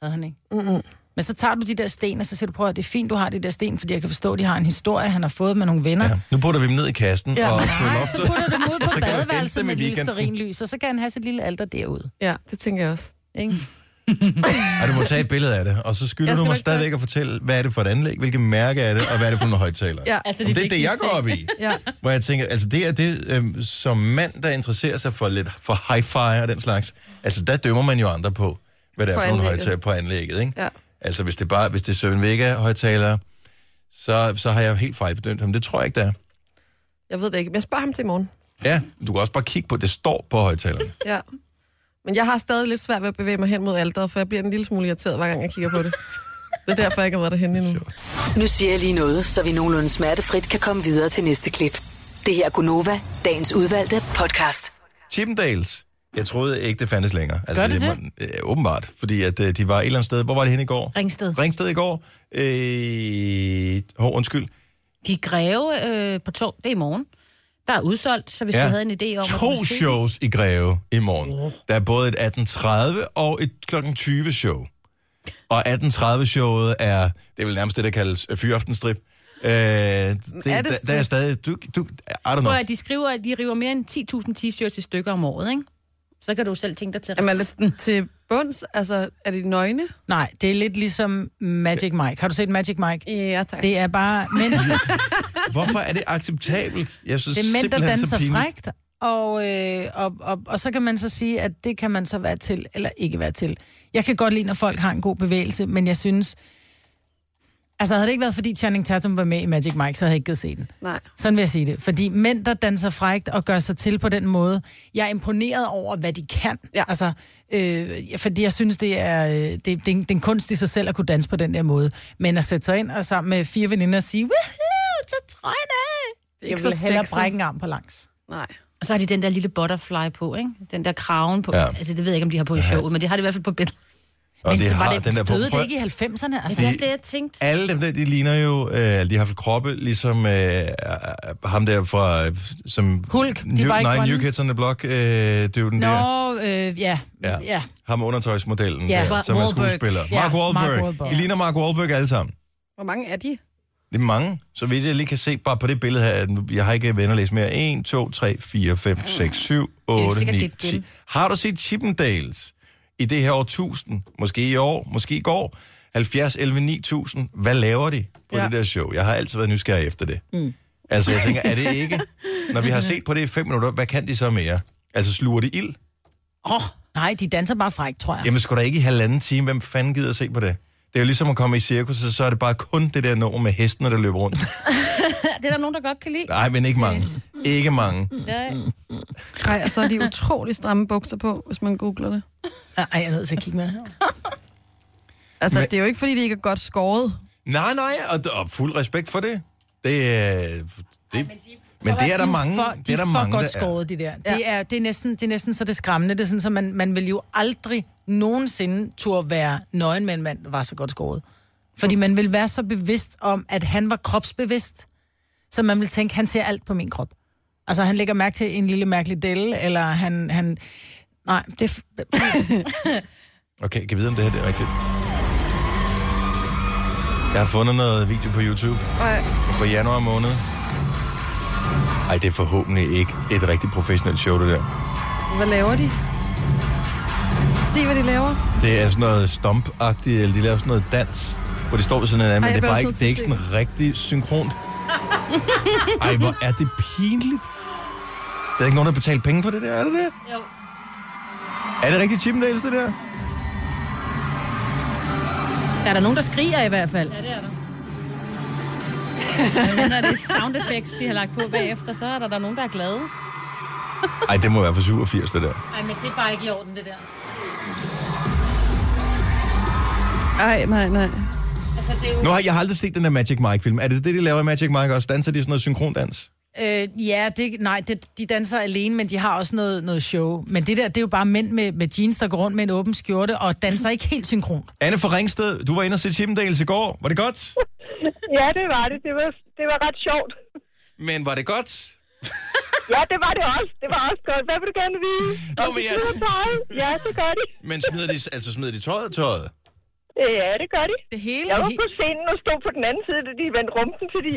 [SPEAKER 2] Havde han ikke? Mm-mm. Men så tager du de der sten, og så siger du, prøv at det er fint, du har de der sten, fordi jeg kan forstå, at de har en historie, han har fået med nogle venner. Ja.
[SPEAKER 1] Ja, nu putter vi dem ned i kassen,
[SPEAKER 3] Ja.
[SPEAKER 1] ja. og på
[SPEAKER 2] Nej, så
[SPEAKER 1] loftet.
[SPEAKER 2] putter du dem
[SPEAKER 1] [LAUGHS]
[SPEAKER 2] ud på
[SPEAKER 1] kan du hente
[SPEAKER 2] badeværelset
[SPEAKER 1] dem i
[SPEAKER 2] med et lille
[SPEAKER 1] weekenden.
[SPEAKER 2] sterinlys, og så kan han have sit lille alter derude.
[SPEAKER 3] Ja, det tænker jeg også.
[SPEAKER 2] Ikke?
[SPEAKER 1] Ej, du må tage et billede af det, og så skylder
[SPEAKER 3] Jeg
[SPEAKER 1] du
[SPEAKER 3] skal
[SPEAKER 1] mig
[SPEAKER 3] nok tage-
[SPEAKER 1] stadigvæk at fortælle, hvad er det for et anlæg, hvilke mærke er det, og hvad er det for nogle højtalere.
[SPEAKER 3] Ja.
[SPEAKER 5] Altså,
[SPEAKER 1] Om det er det, jeg går op i.
[SPEAKER 3] Ja.
[SPEAKER 1] Hvor jeg tænker, altså det er det, øhm, som mand, der interesserer sig for lidt for hi-fi og den slags, altså der dømmer man jo andre på, hvad det er
[SPEAKER 3] På
[SPEAKER 1] for nogle
[SPEAKER 3] anlægget.
[SPEAKER 1] højtaler på anlægget, ikke?
[SPEAKER 3] Ja.
[SPEAKER 1] Altså hvis det bare, hvis det er Søren Vega højtalere, så, så har jeg helt fejlbedømt ham. Det tror jeg ikke, der er.
[SPEAKER 3] Jeg ved det ikke, men jeg spørger ham til i morgen.
[SPEAKER 1] Ja, du kan også bare kigge på, det står på højtalerne.
[SPEAKER 3] Ja. Men jeg har stadig lidt svært ved at bevæge mig hen mod alderet, for jeg bliver en lille smule irriteret, hver gang jeg kigger på det. Det er derfor, jeg ikke har været derhenne endnu.
[SPEAKER 6] Nu siger jeg lige noget, så vi nogenlunde smertefrit kan komme videre til næste klip. Det her er Gunova, dagens udvalgte podcast.
[SPEAKER 1] Chippendales. Jeg troede ikke, det fandtes længere. Altså,
[SPEAKER 2] Gør det
[SPEAKER 1] det? Øh, åbenbart, fordi at, øh, de var et eller andet sted. Hvor var det henne i går?
[SPEAKER 5] Ringsted.
[SPEAKER 1] Ringsted i går. Øh, hov, undskyld.
[SPEAKER 5] De greve øh, på tog, det er i morgen. Der er udsolgt, så hvis
[SPEAKER 1] Ja.
[SPEAKER 5] du havde en idé om... at du
[SPEAKER 1] To
[SPEAKER 5] ville se-
[SPEAKER 1] shows i Greve i morgen. Der er både et 18.30 og et kl. 20 show. Og 18.30 showet er, det er vel nærmest det, der kaldes øh, fyraftenstrip. Øh, det, er
[SPEAKER 3] det
[SPEAKER 1] der, der er
[SPEAKER 3] strip?
[SPEAKER 1] stadig, du, du, I don't know.
[SPEAKER 5] Prøv at de skriver, at de river mere end 10.000 t-shirts i stykker om året, ikke? Så kan du selv tænke dig til
[SPEAKER 3] Jamen, er
[SPEAKER 5] resten.
[SPEAKER 3] det til bunds? Altså, er det nøgne?
[SPEAKER 2] Nej, det er lidt ligesom Magic Mike. Har du set Magic Mike?
[SPEAKER 3] Ja, tak. Det,
[SPEAKER 2] Det er bare mænd,
[SPEAKER 1] Hvorfor er det acceptabelt? Jeg synes
[SPEAKER 2] det er mænd der
[SPEAKER 1] simpelthen så
[SPEAKER 2] danser
[SPEAKER 1] pinligt.
[SPEAKER 2] frægt, og, øh, og, og, og så kan man så sige, at det kan man så være til, eller ikke være til. Jeg kan godt lide, når folk har en god bevægelse, men jeg synes... Altså, havde det ikke været, fordi Channing Tatum var med i Magic Mike, så havde jeg ikke givet se den.
[SPEAKER 3] Nej.
[SPEAKER 2] Sådan vil jeg sige det. Fordi mænd, der danser frægt og gør sig til på den måde, jeg er imponeret over, hvad de kan.
[SPEAKER 3] Ja.
[SPEAKER 2] Altså, øh, fordi jeg synes, det er, øh, det, det, er en, det er en kunst i sig selv at kunne danse på den der måde. Men at sætte sig ind og sammen med fire veninder og sige, woohoo, så trøjen af.
[SPEAKER 3] er ikke
[SPEAKER 2] Jeg
[SPEAKER 3] så
[SPEAKER 2] vil hellere
[SPEAKER 3] sexet.
[SPEAKER 2] brække en arm på langs.
[SPEAKER 3] Nej.
[SPEAKER 5] Og så har de den der lille butterfly på, ikke? Den der kraven på.
[SPEAKER 1] Ja.
[SPEAKER 5] Ja. Altså, det ved jeg ikke, om de har på i showet, men det har de i hvert fald på billedet.
[SPEAKER 1] Og
[SPEAKER 2] Men
[SPEAKER 1] det
[SPEAKER 2] var
[SPEAKER 1] har
[SPEAKER 2] det,
[SPEAKER 1] den der på.
[SPEAKER 2] døde
[SPEAKER 1] Prøv-
[SPEAKER 2] det ikke i 90'erne? Altså,
[SPEAKER 5] Det er også det, jeg tænkte.
[SPEAKER 1] Alle dem der, de ligner jo, øh, de har fået kroppe, ligesom øh, ham der fra, øh, som...
[SPEAKER 2] Hulk, de
[SPEAKER 1] New,
[SPEAKER 2] var ikke
[SPEAKER 1] Nej,
[SPEAKER 2] grønne.
[SPEAKER 1] New Kids on the Block, øh, det er jo den der.
[SPEAKER 2] Nå, øh, ja, ja. ja.
[SPEAKER 1] Ham undertøjsmodellen,
[SPEAKER 2] Ja,
[SPEAKER 1] ja, der,
[SPEAKER 2] Mark
[SPEAKER 1] som er
[SPEAKER 5] Wahlberg.
[SPEAKER 1] skuespiller.
[SPEAKER 2] Ja,
[SPEAKER 1] Mark Wahlberg.
[SPEAKER 2] Mark Wahlberg.
[SPEAKER 1] De ligner Mark Wahlberg alle sammen.
[SPEAKER 3] Hvor mange er de?
[SPEAKER 1] Det er mange, så vidt jeg lige kan se bare på det billede her. at nu- Jeg har ikke venner læst mere. 1, 2, 3, 4, 5, 6, 7,
[SPEAKER 5] ikke
[SPEAKER 1] 8,
[SPEAKER 5] sikkert,
[SPEAKER 1] 9,
[SPEAKER 5] det er
[SPEAKER 1] 10.
[SPEAKER 5] dem.
[SPEAKER 1] Har du set Chippendales i det her år 1000? Måske i år, måske i går. 70, 11, 9000. Hvad laver de på ja.
[SPEAKER 3] Ja.
[SPEAKER 1] det der show? Jeg har altid været nysgerrig efter det. Mm. Altså, jeg tænker, er det ikke... Når vi har set på det i fem minutter, hvad kan de så mere? Altså, sluger de ild?
[SPEAKER 2] Åh, oh, nej, de danser bare frækt, tror jeg.
[SPEAKER 1] Jamen, skulle der ikke i halvanden time? Hvem fanden gider at se på det? Det er jo ligesom at komme i cirkuset, så er det bare kun det der nummer med hestene, der løber rundt.
[SPEAKER 5] Det er der nogen, der godt kan lide.
[SPEAKER 1] Nej, men ikke mange. Ikke mange.
[SPEAKER 5] Ja.
[SPEAKER 3] Nej, og så er de utrolig stramme bukser på, hvis man googler det.
[SPEAKER 9] Ej, jeg er nødt til at kigge med.
[SPEAKER 3] Altså,
[SPEAKER 1] Men-
[SPEAKER 3] Men... det er jo ikke, fordi de ikke er godt skåret.
[SPEAKER 1] Nej, nej, og, og fuld respekt for det. Det, er- det men det er der
[SPEAKER 2] De
[SPEAKER 1] mange,
[SPEAKER 2] for,
[SPEAKER 1] det er der mange,
[SPEAKER 2] godt
[SPEAKER 1] der er.
[SPEAKER 2] skåret, de der. Ja. Det, er, det, er næsten, det er næsten så det skræmmende. Det er sådan, så man, man vil jo aldrig nogensinde turde være nøgen med en mand, der var så godt skåret. Fordi man vil være så bevidst om, at han var kropsbevidst, så man vil tænke, han ser alt på min krop. Altså, han lægger mærke til en lille mærkelig delle, eller han... han nej, det er... f-
[SPEAKER 1] Okay, kan vi vide, om det her det er rigtigt? Jeg har fundet noget video på YouTube
[SPEAKER 3] Ej.
[SPEAKER 1] fra januar måned. Ej, det er forhåbentlig ikke et rigtig professionelt show, det der.
[SPEAKER 3] Hvad laver de? Se, hvad de laver.
[SPEAKER 1] Det er sådan noget stomp eller de laver sådan noget dans, hvor de står ved sådan en anden,
[SPEAKER 3] Ej,
[SPEAKER 1] men
[SPEAKER 3] jeg
[SPEAKER 1] det er
[SPEAKER 3] bliver
[SPEAKER 1] bare
[SPEAKER 3] også
[SPEAKER 1] ikke,
[SPEAKER 3] nødt
[SPEAKER 1] det
[SPEAKER 3] til
[SPEAKER 1] er
[SPEAKER 3] at
[SPEAKER 1] ikke sådan rigtig synkront. Ej, hvor er det pinligt. Der er ikke nogen, der betaler penge på det der, er det det?
[SPEAKER 5] Jo.
[SPEAKER 1] Er det rigtig Chippendales, det der?
[SPEAKER 9] Der er der nogen, der skriger i hvert fald.
[SPEAKER 5] Ja, det er der. Men når det er sound effects, de har lagt på bagefter, så er der, der nogen, der er glade.
[SPEAKER 1] Ej, det må være for 87, det der.
[SPEAKER 5] Nej, men det er bare ikke i orden, det der.
[SPEAKER 3] Ej, nej, nej.
[SPEAKER 5] Altså, det er jo...
[SPEAKER 1] Nu har jeg har aldrig set den der Magic Mike-film. Er det det, de laver i Magic Mike også? Danser de sådan noget synkrondans?
[SPEAKER 2] Øh, ja, det, nej, det, de danser alene, men de har også noget, noget show. Men det der, det er jo bare mænd med, med jeans, der går rundt med en åben skjorte og danser ikke helt synkront.
[SPEAKER 1] Anne fra Ringsted, du var inde og se Chippendales i går. Var det godt?
[SPEAKER 10] Ja, det var det. Det var, det var ret sjovt.
[SPEAKER 1] Men var det godt?
[SPEAKER 10] Ja, det var det også. Det var også godt. Hvad vil du gerne vide?
[SPEAKER 1] Nå,
[SPEAKER 10] Om
[SPEAKER 1] men
[SPEAKER 10] de
[SPEAKER 1] jeg-
[SPEAKER 10] smider tøjet? Ja, så gør de.
[SPEAKER 1] Men smider de, altså smider de tøjet tøjet?
[SPEAKER 10] Ja, det gør de.
[SPEAKER 3] Det hele
[SPEAKER 10] Jeg
[SPEAKER 3] er
[SPEAKER 10] var
[SPEAKER 3] helt...
[SPEAKER 10] på scenen og stod på den anden side, da de vendte rumpen til de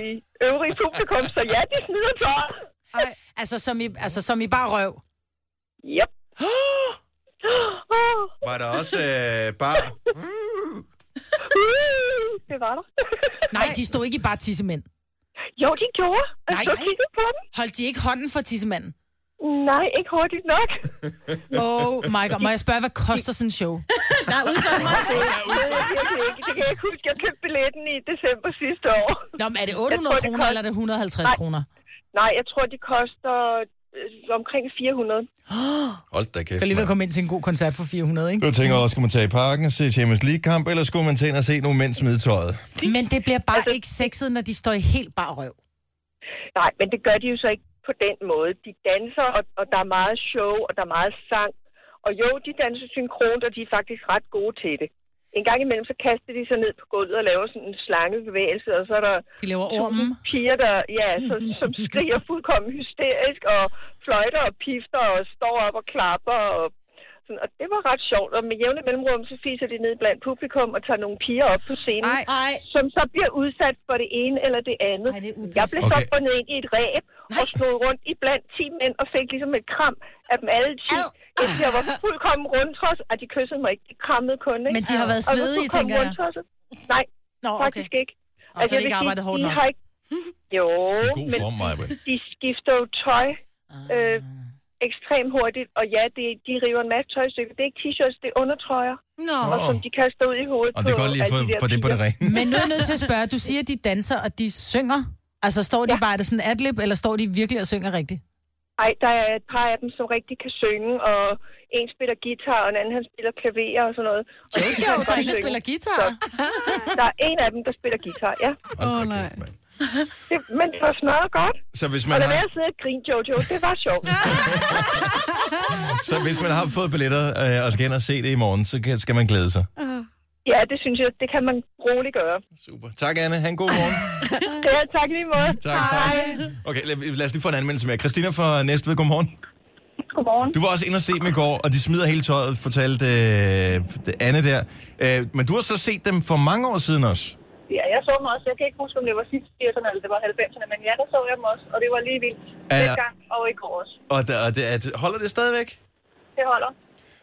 [SPEAKER 10] øvrige publikum, så ja, de smider tøjet.
[SPEAKER 2] Altså, som i, altså, som i bare røv.
[SPEAKER 1] [GASPS]
[SPEAKER 10] Yep.
[SPEAKER 1] Var der også øh, bare...
[SPEAKER 10] [GASPS] det var der. [LAUGHS]
[SPEAKER 2] Nej, de stod ikke i bare tissemænd.
[SPEAKER 10] Jo, de gjorde. Jeg
[SPEAKER 2] Nej,
[SPEAKER 10] stod og
[SPEAKER 2] nej.
[SPEAKER 10] kiggede på dem.
[SPEAKER 2] Holdt de ikke hånden for tissemanden?
[SPEAKER 10] Nej, ikke hurtigt nok. [LAUGHS]
[SPEAKER 2] Oh my god, må jeg spørge, hvad koster sådan en show?
[SPEAKER 10] Det kan jeg virkelig ikke. Det kan jeg ikke huske. Jeg købte billetten i december sidste år.
[SPEAKER 2] Nå, men er det
[SPEAKER 10] tror,
[SPEAKER 2] 800
[SPEAKER 10] det
[SPEAKER 2] kroner,
[SPEAKER 10] koster-
[SPEAKER 2] eller er det 150
[SPEAKER 10] Nej.
[SPEAKER 2] kroner?
[SPEAKER 10] Nej, jeg tror, de koster øh, omkring 400.
[SPEAKER 1] Hold da kæft,
[SPEAKER 2] Jeg lige ved
[SPEAKER 1] mand.
[SPEAKER 2] at komme ind til en god koncert for 400, ikke?
[SPEAKER 1] Du tænker også, skulle man tage i parken og se Champions League-kamp, eller skulle man tage ind og se nogle mænd smide tøjet?
[SPEAKER 2] Men det bliver bare ikke sexet, når de står i helt bare røv.
[SPEAKER 10] Nej, men det gør de jo så ikke på den måde. De danser, og, og der er meget show, og der er meget sang. Og jo, de danser synkront, og de er faktisk ret gode til det. En gang imellem, så kaster de sig ned på gulvet og laver sådan en slangebevægelse, og så er der
[SPEAKER 2] De laver
[SPEAKER 10] tusind
[SPEAKER 2] ormen.
[SPEAKER 10] piger, der, ja, så, som skriger fuldkommen hysterisk, og fløjter og pifter, og står op og klapper, og sådan, og det var ret sjovt, og med jævne mellemrum, så fiser de ned blandt publikum og tager nogle piger op på scenen
[SPEAKER 3] Ej,
[SPEAKER 5] Ej,
[SPEAKER 10] som så bliver udsat for det ene eller det andet.
[SPEAKER 5] Ej, det er upassende.
[SPEAKER 10] jeg blev så
[SPEAKER 1] Okay.
[SPEAKER 10] bundet ind i et ræb og slog rundt i blandt 10 mænd og fik ligesom et kram af dem alle 10. Indtil jeg var fuldkommen rundtros, at de kyssede mig ikke. De krammede kun, ikke?
[SPEAKER 2] Men de har været
[SPEAKER 10] Og nu
[SPEAKER 2] svedige,
[SPEAKER 10] fuldkommen
[SPEAKER 2] tænker jeg.
[SPEAKER 10] rundtosset. Nej,
[SPEAKER 2] Nå, okay.
[SPEAKER 10] faktisk ikke. Altså,
[SPEAKER 2] Og så har de ikke arbejdet hårdt
[SPEAKER 10] de
[SPEAKER 2] nok.
[SPEAKER 10] har
[SPEAKER 2] [LAUGHS]
[SPEAKER 10] ikke... Jo,
[SPEAKER 1] I god
[SPEAKER 10] men
[SPEAKER 1] form, Maja.
[SPEAKER 10] de skifter jo tøj
[SPEAKER 2] Ah.
[SPEAKER 10] øh, ekstremt hurtigt. Og ja, det, de river en masse tøjstykker. Det er ikke t-shirts, det er undertrøjer.
[SPEAKER 5] nå.
[SPEAKER 10] Og som de kaster ud i hovedet
[SPEAKER 1] Og det er
[SPEAKER 10] på
[SPEAKER 1] godt lige at
[SPEAKER 10] alle de
[SPEAKER 1] få-
[SPEAKER 10] der
[SPEAKER 1] få det på det
[SPEAKER 10] piger.
[SPEAKER 1] rene.
[SPEAKER 2] Men nu er jeg nødt til at spørge, du siger, at de danser, og de synger. Altså, står de bare, er det sådan adlib, eller står de virkelig og synger rigtigt?
[SPEAKER 10] Ej, der er et par af dem, som rigtig kan synge, og en spiller guitar, og en anden han spiller klaver og sådan noget. Og de kan
[SPEAKER 2] Jojo,
[SPEAKER 10] godt
[SPEAKER 2] der er en, der
[SPEAKER 10] synge.
[SPEAKER 2] spiller guitar.
[SPEAKER 10] Der er en af dem, der spiller guitar, ja.
[SPEAKER 1] Hold da
[SPEAKER 3] Åh,
[SPEAKER 1] kæft, mand.
[SPEAKER 10] Det, men det var smadret godt.
[SPEAKER 1] Så hvis
[SPEAKER 10] Og
[SPEAKER 1] man
[SPEAKER 10] der
[SPEAKER 1] har...
[SPEAKER 10] var jeg sidde og grine, Jojo. Det var sjovt.
[SPEAKER 1] Så hvis man har fået billetter øh, og skal ind og se det i morgen, så kan- skal man glæde sig.
[SPEAKER 10] Ja, det synes jeg, det kan man roligt gøre.
[SPEAKER 1] Super. Tak, Anne. Ha' en god morgen.
[SPEAKER 10] Ja, tak i lige måde.
[SPEAKER 1] Tak. Okay, lad, lad os lige få en anmeldelse mere. Christina fra Næstved, godmorgen.
[SPEAKER 10] Godmorgen.
[SPEAKER 1] Du var også inde og se dem i går, og de smider hele tøjet, fortalte øh, Anne der. Øh, men du har så set dem for mange år siden også.
[SPEAKER 10] Ja, jeg så dem også. Jeg kan ikke huske, om det var sidst 80'erne eller det var 90'erne, men ja, der så jeg dem også, og det var lige vildt.
[SPEAKER 1] Ja.
[SPEAKER 10] Dengang og i går også.
[SPEAKER 1] Og, der, og det, at, holder det stadigvæk?
[SPEAKER 10] Det holder.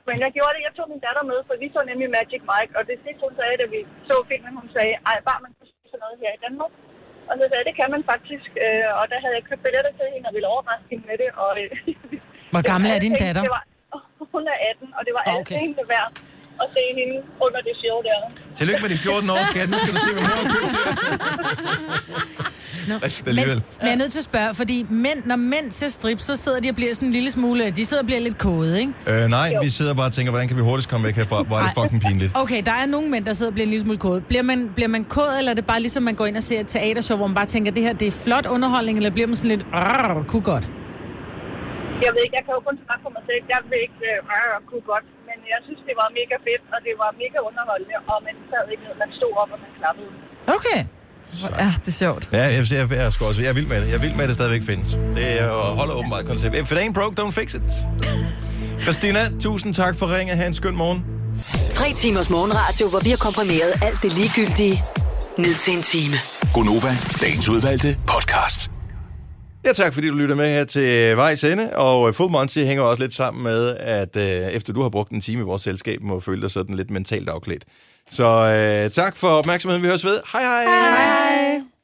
[SPEAKER 10] Men jeg gjorde det, jeg tog min datter med, for vi så nemlig Magic Mike, og det sidste, hun sagde, da vi så filmen, hun sagde, ej, bare man kan se sådan noget her i Danmark. Og så sagde jeg, det kan man faktisk, øh, og der havde jeg købt billetter til hende, og ville overraske hende med det. Og, øh, [LAUGHS]
[SPEAKER 2] Hvor
[SPEAKER 10] det var
[SPEAKER 2] gammel er
[SPEAKER 10] alle
[SPEAKER 2] din
[SPEAKER 10] penge- [LAUGHS]
[SPEAKER 2] datter?
[SPEAKER 10] Det var, hun er 18, og det var okay. alle
[SPEAKER 2] Okay.
[SPEAKER 10] pengene værd. at se hende under det show der.
[SPEAKER 1] Tillykke med de 14 år, skat. Nu skal du se, hvor mor er god til.
[SPEAKER 2] Nå,
[SPEAKER 1] alligevel.
[SPEAKER 2] Men jeg er nødt til at spørge, fordi mænd, når mænd ser strip, så sidder de og bliver sådan en lille smule... De sidder og bliver lidt kode, ikke?
[SPEAKER 1] Øh, nej, vi sidder bare og tænker, hvordan kan vi hurtigst komme væk herfra? Hvor er det
[SPEAKER 2] Ej.
[SPEAKER 1] fucking pinligt.
[SPEAKER 2] Okay, der er nogle mænd, der sidder og bliver en lille smule kode. Bliver man, bliver man kode, eller er det bare ligesom, man går ind og ser et teatershow, hvor man bare tænker, det her det er flot underholdning, eller bliver man sådan lidt... "Arr, Kunne godt.
[SPEAKER 10] Jeg ved ikke, jeg kan jo kun snakke for mig selv. Jeg vil ikke øh, øh, kunne godt, men jeg synes, det var mega fedt, og det var mega underholdende, og man sad ikke ned, man stod op, og man klappede.
[SPEAKER 2] Okay.
[SPEAKER 3] Ja, det er sjovt.
[SPEAKER 1] Ja, jeg, jeg, jeg, er sgu også, jeg er vild med det. Jeg er vild med, at det stadigvæk findes. Det er, og holder åbenbart koncept. If it ain't broke, don't fix it. Christina, tusind tak for ringen. Ha' en skøn morgen.
[SPEAKER 6] Tre timers morgenradio, hvor vi har komprimeret alt det ligegyldige ned til en time.
[SPEAKER 7] Gonova, dagens udvalgte podcast.
[SPEAKER 1] Ja, tak fordi du lytter med her til vejs ende, og øh, Full Monty hænger også lidt sammen med, at øh, efter du har brugt en time i vores selskab, må føle dig sådan lidt mentalt afklædt. Så øh, tak for opmærksomheden, vi høres ved. Hej hej! hej, hej.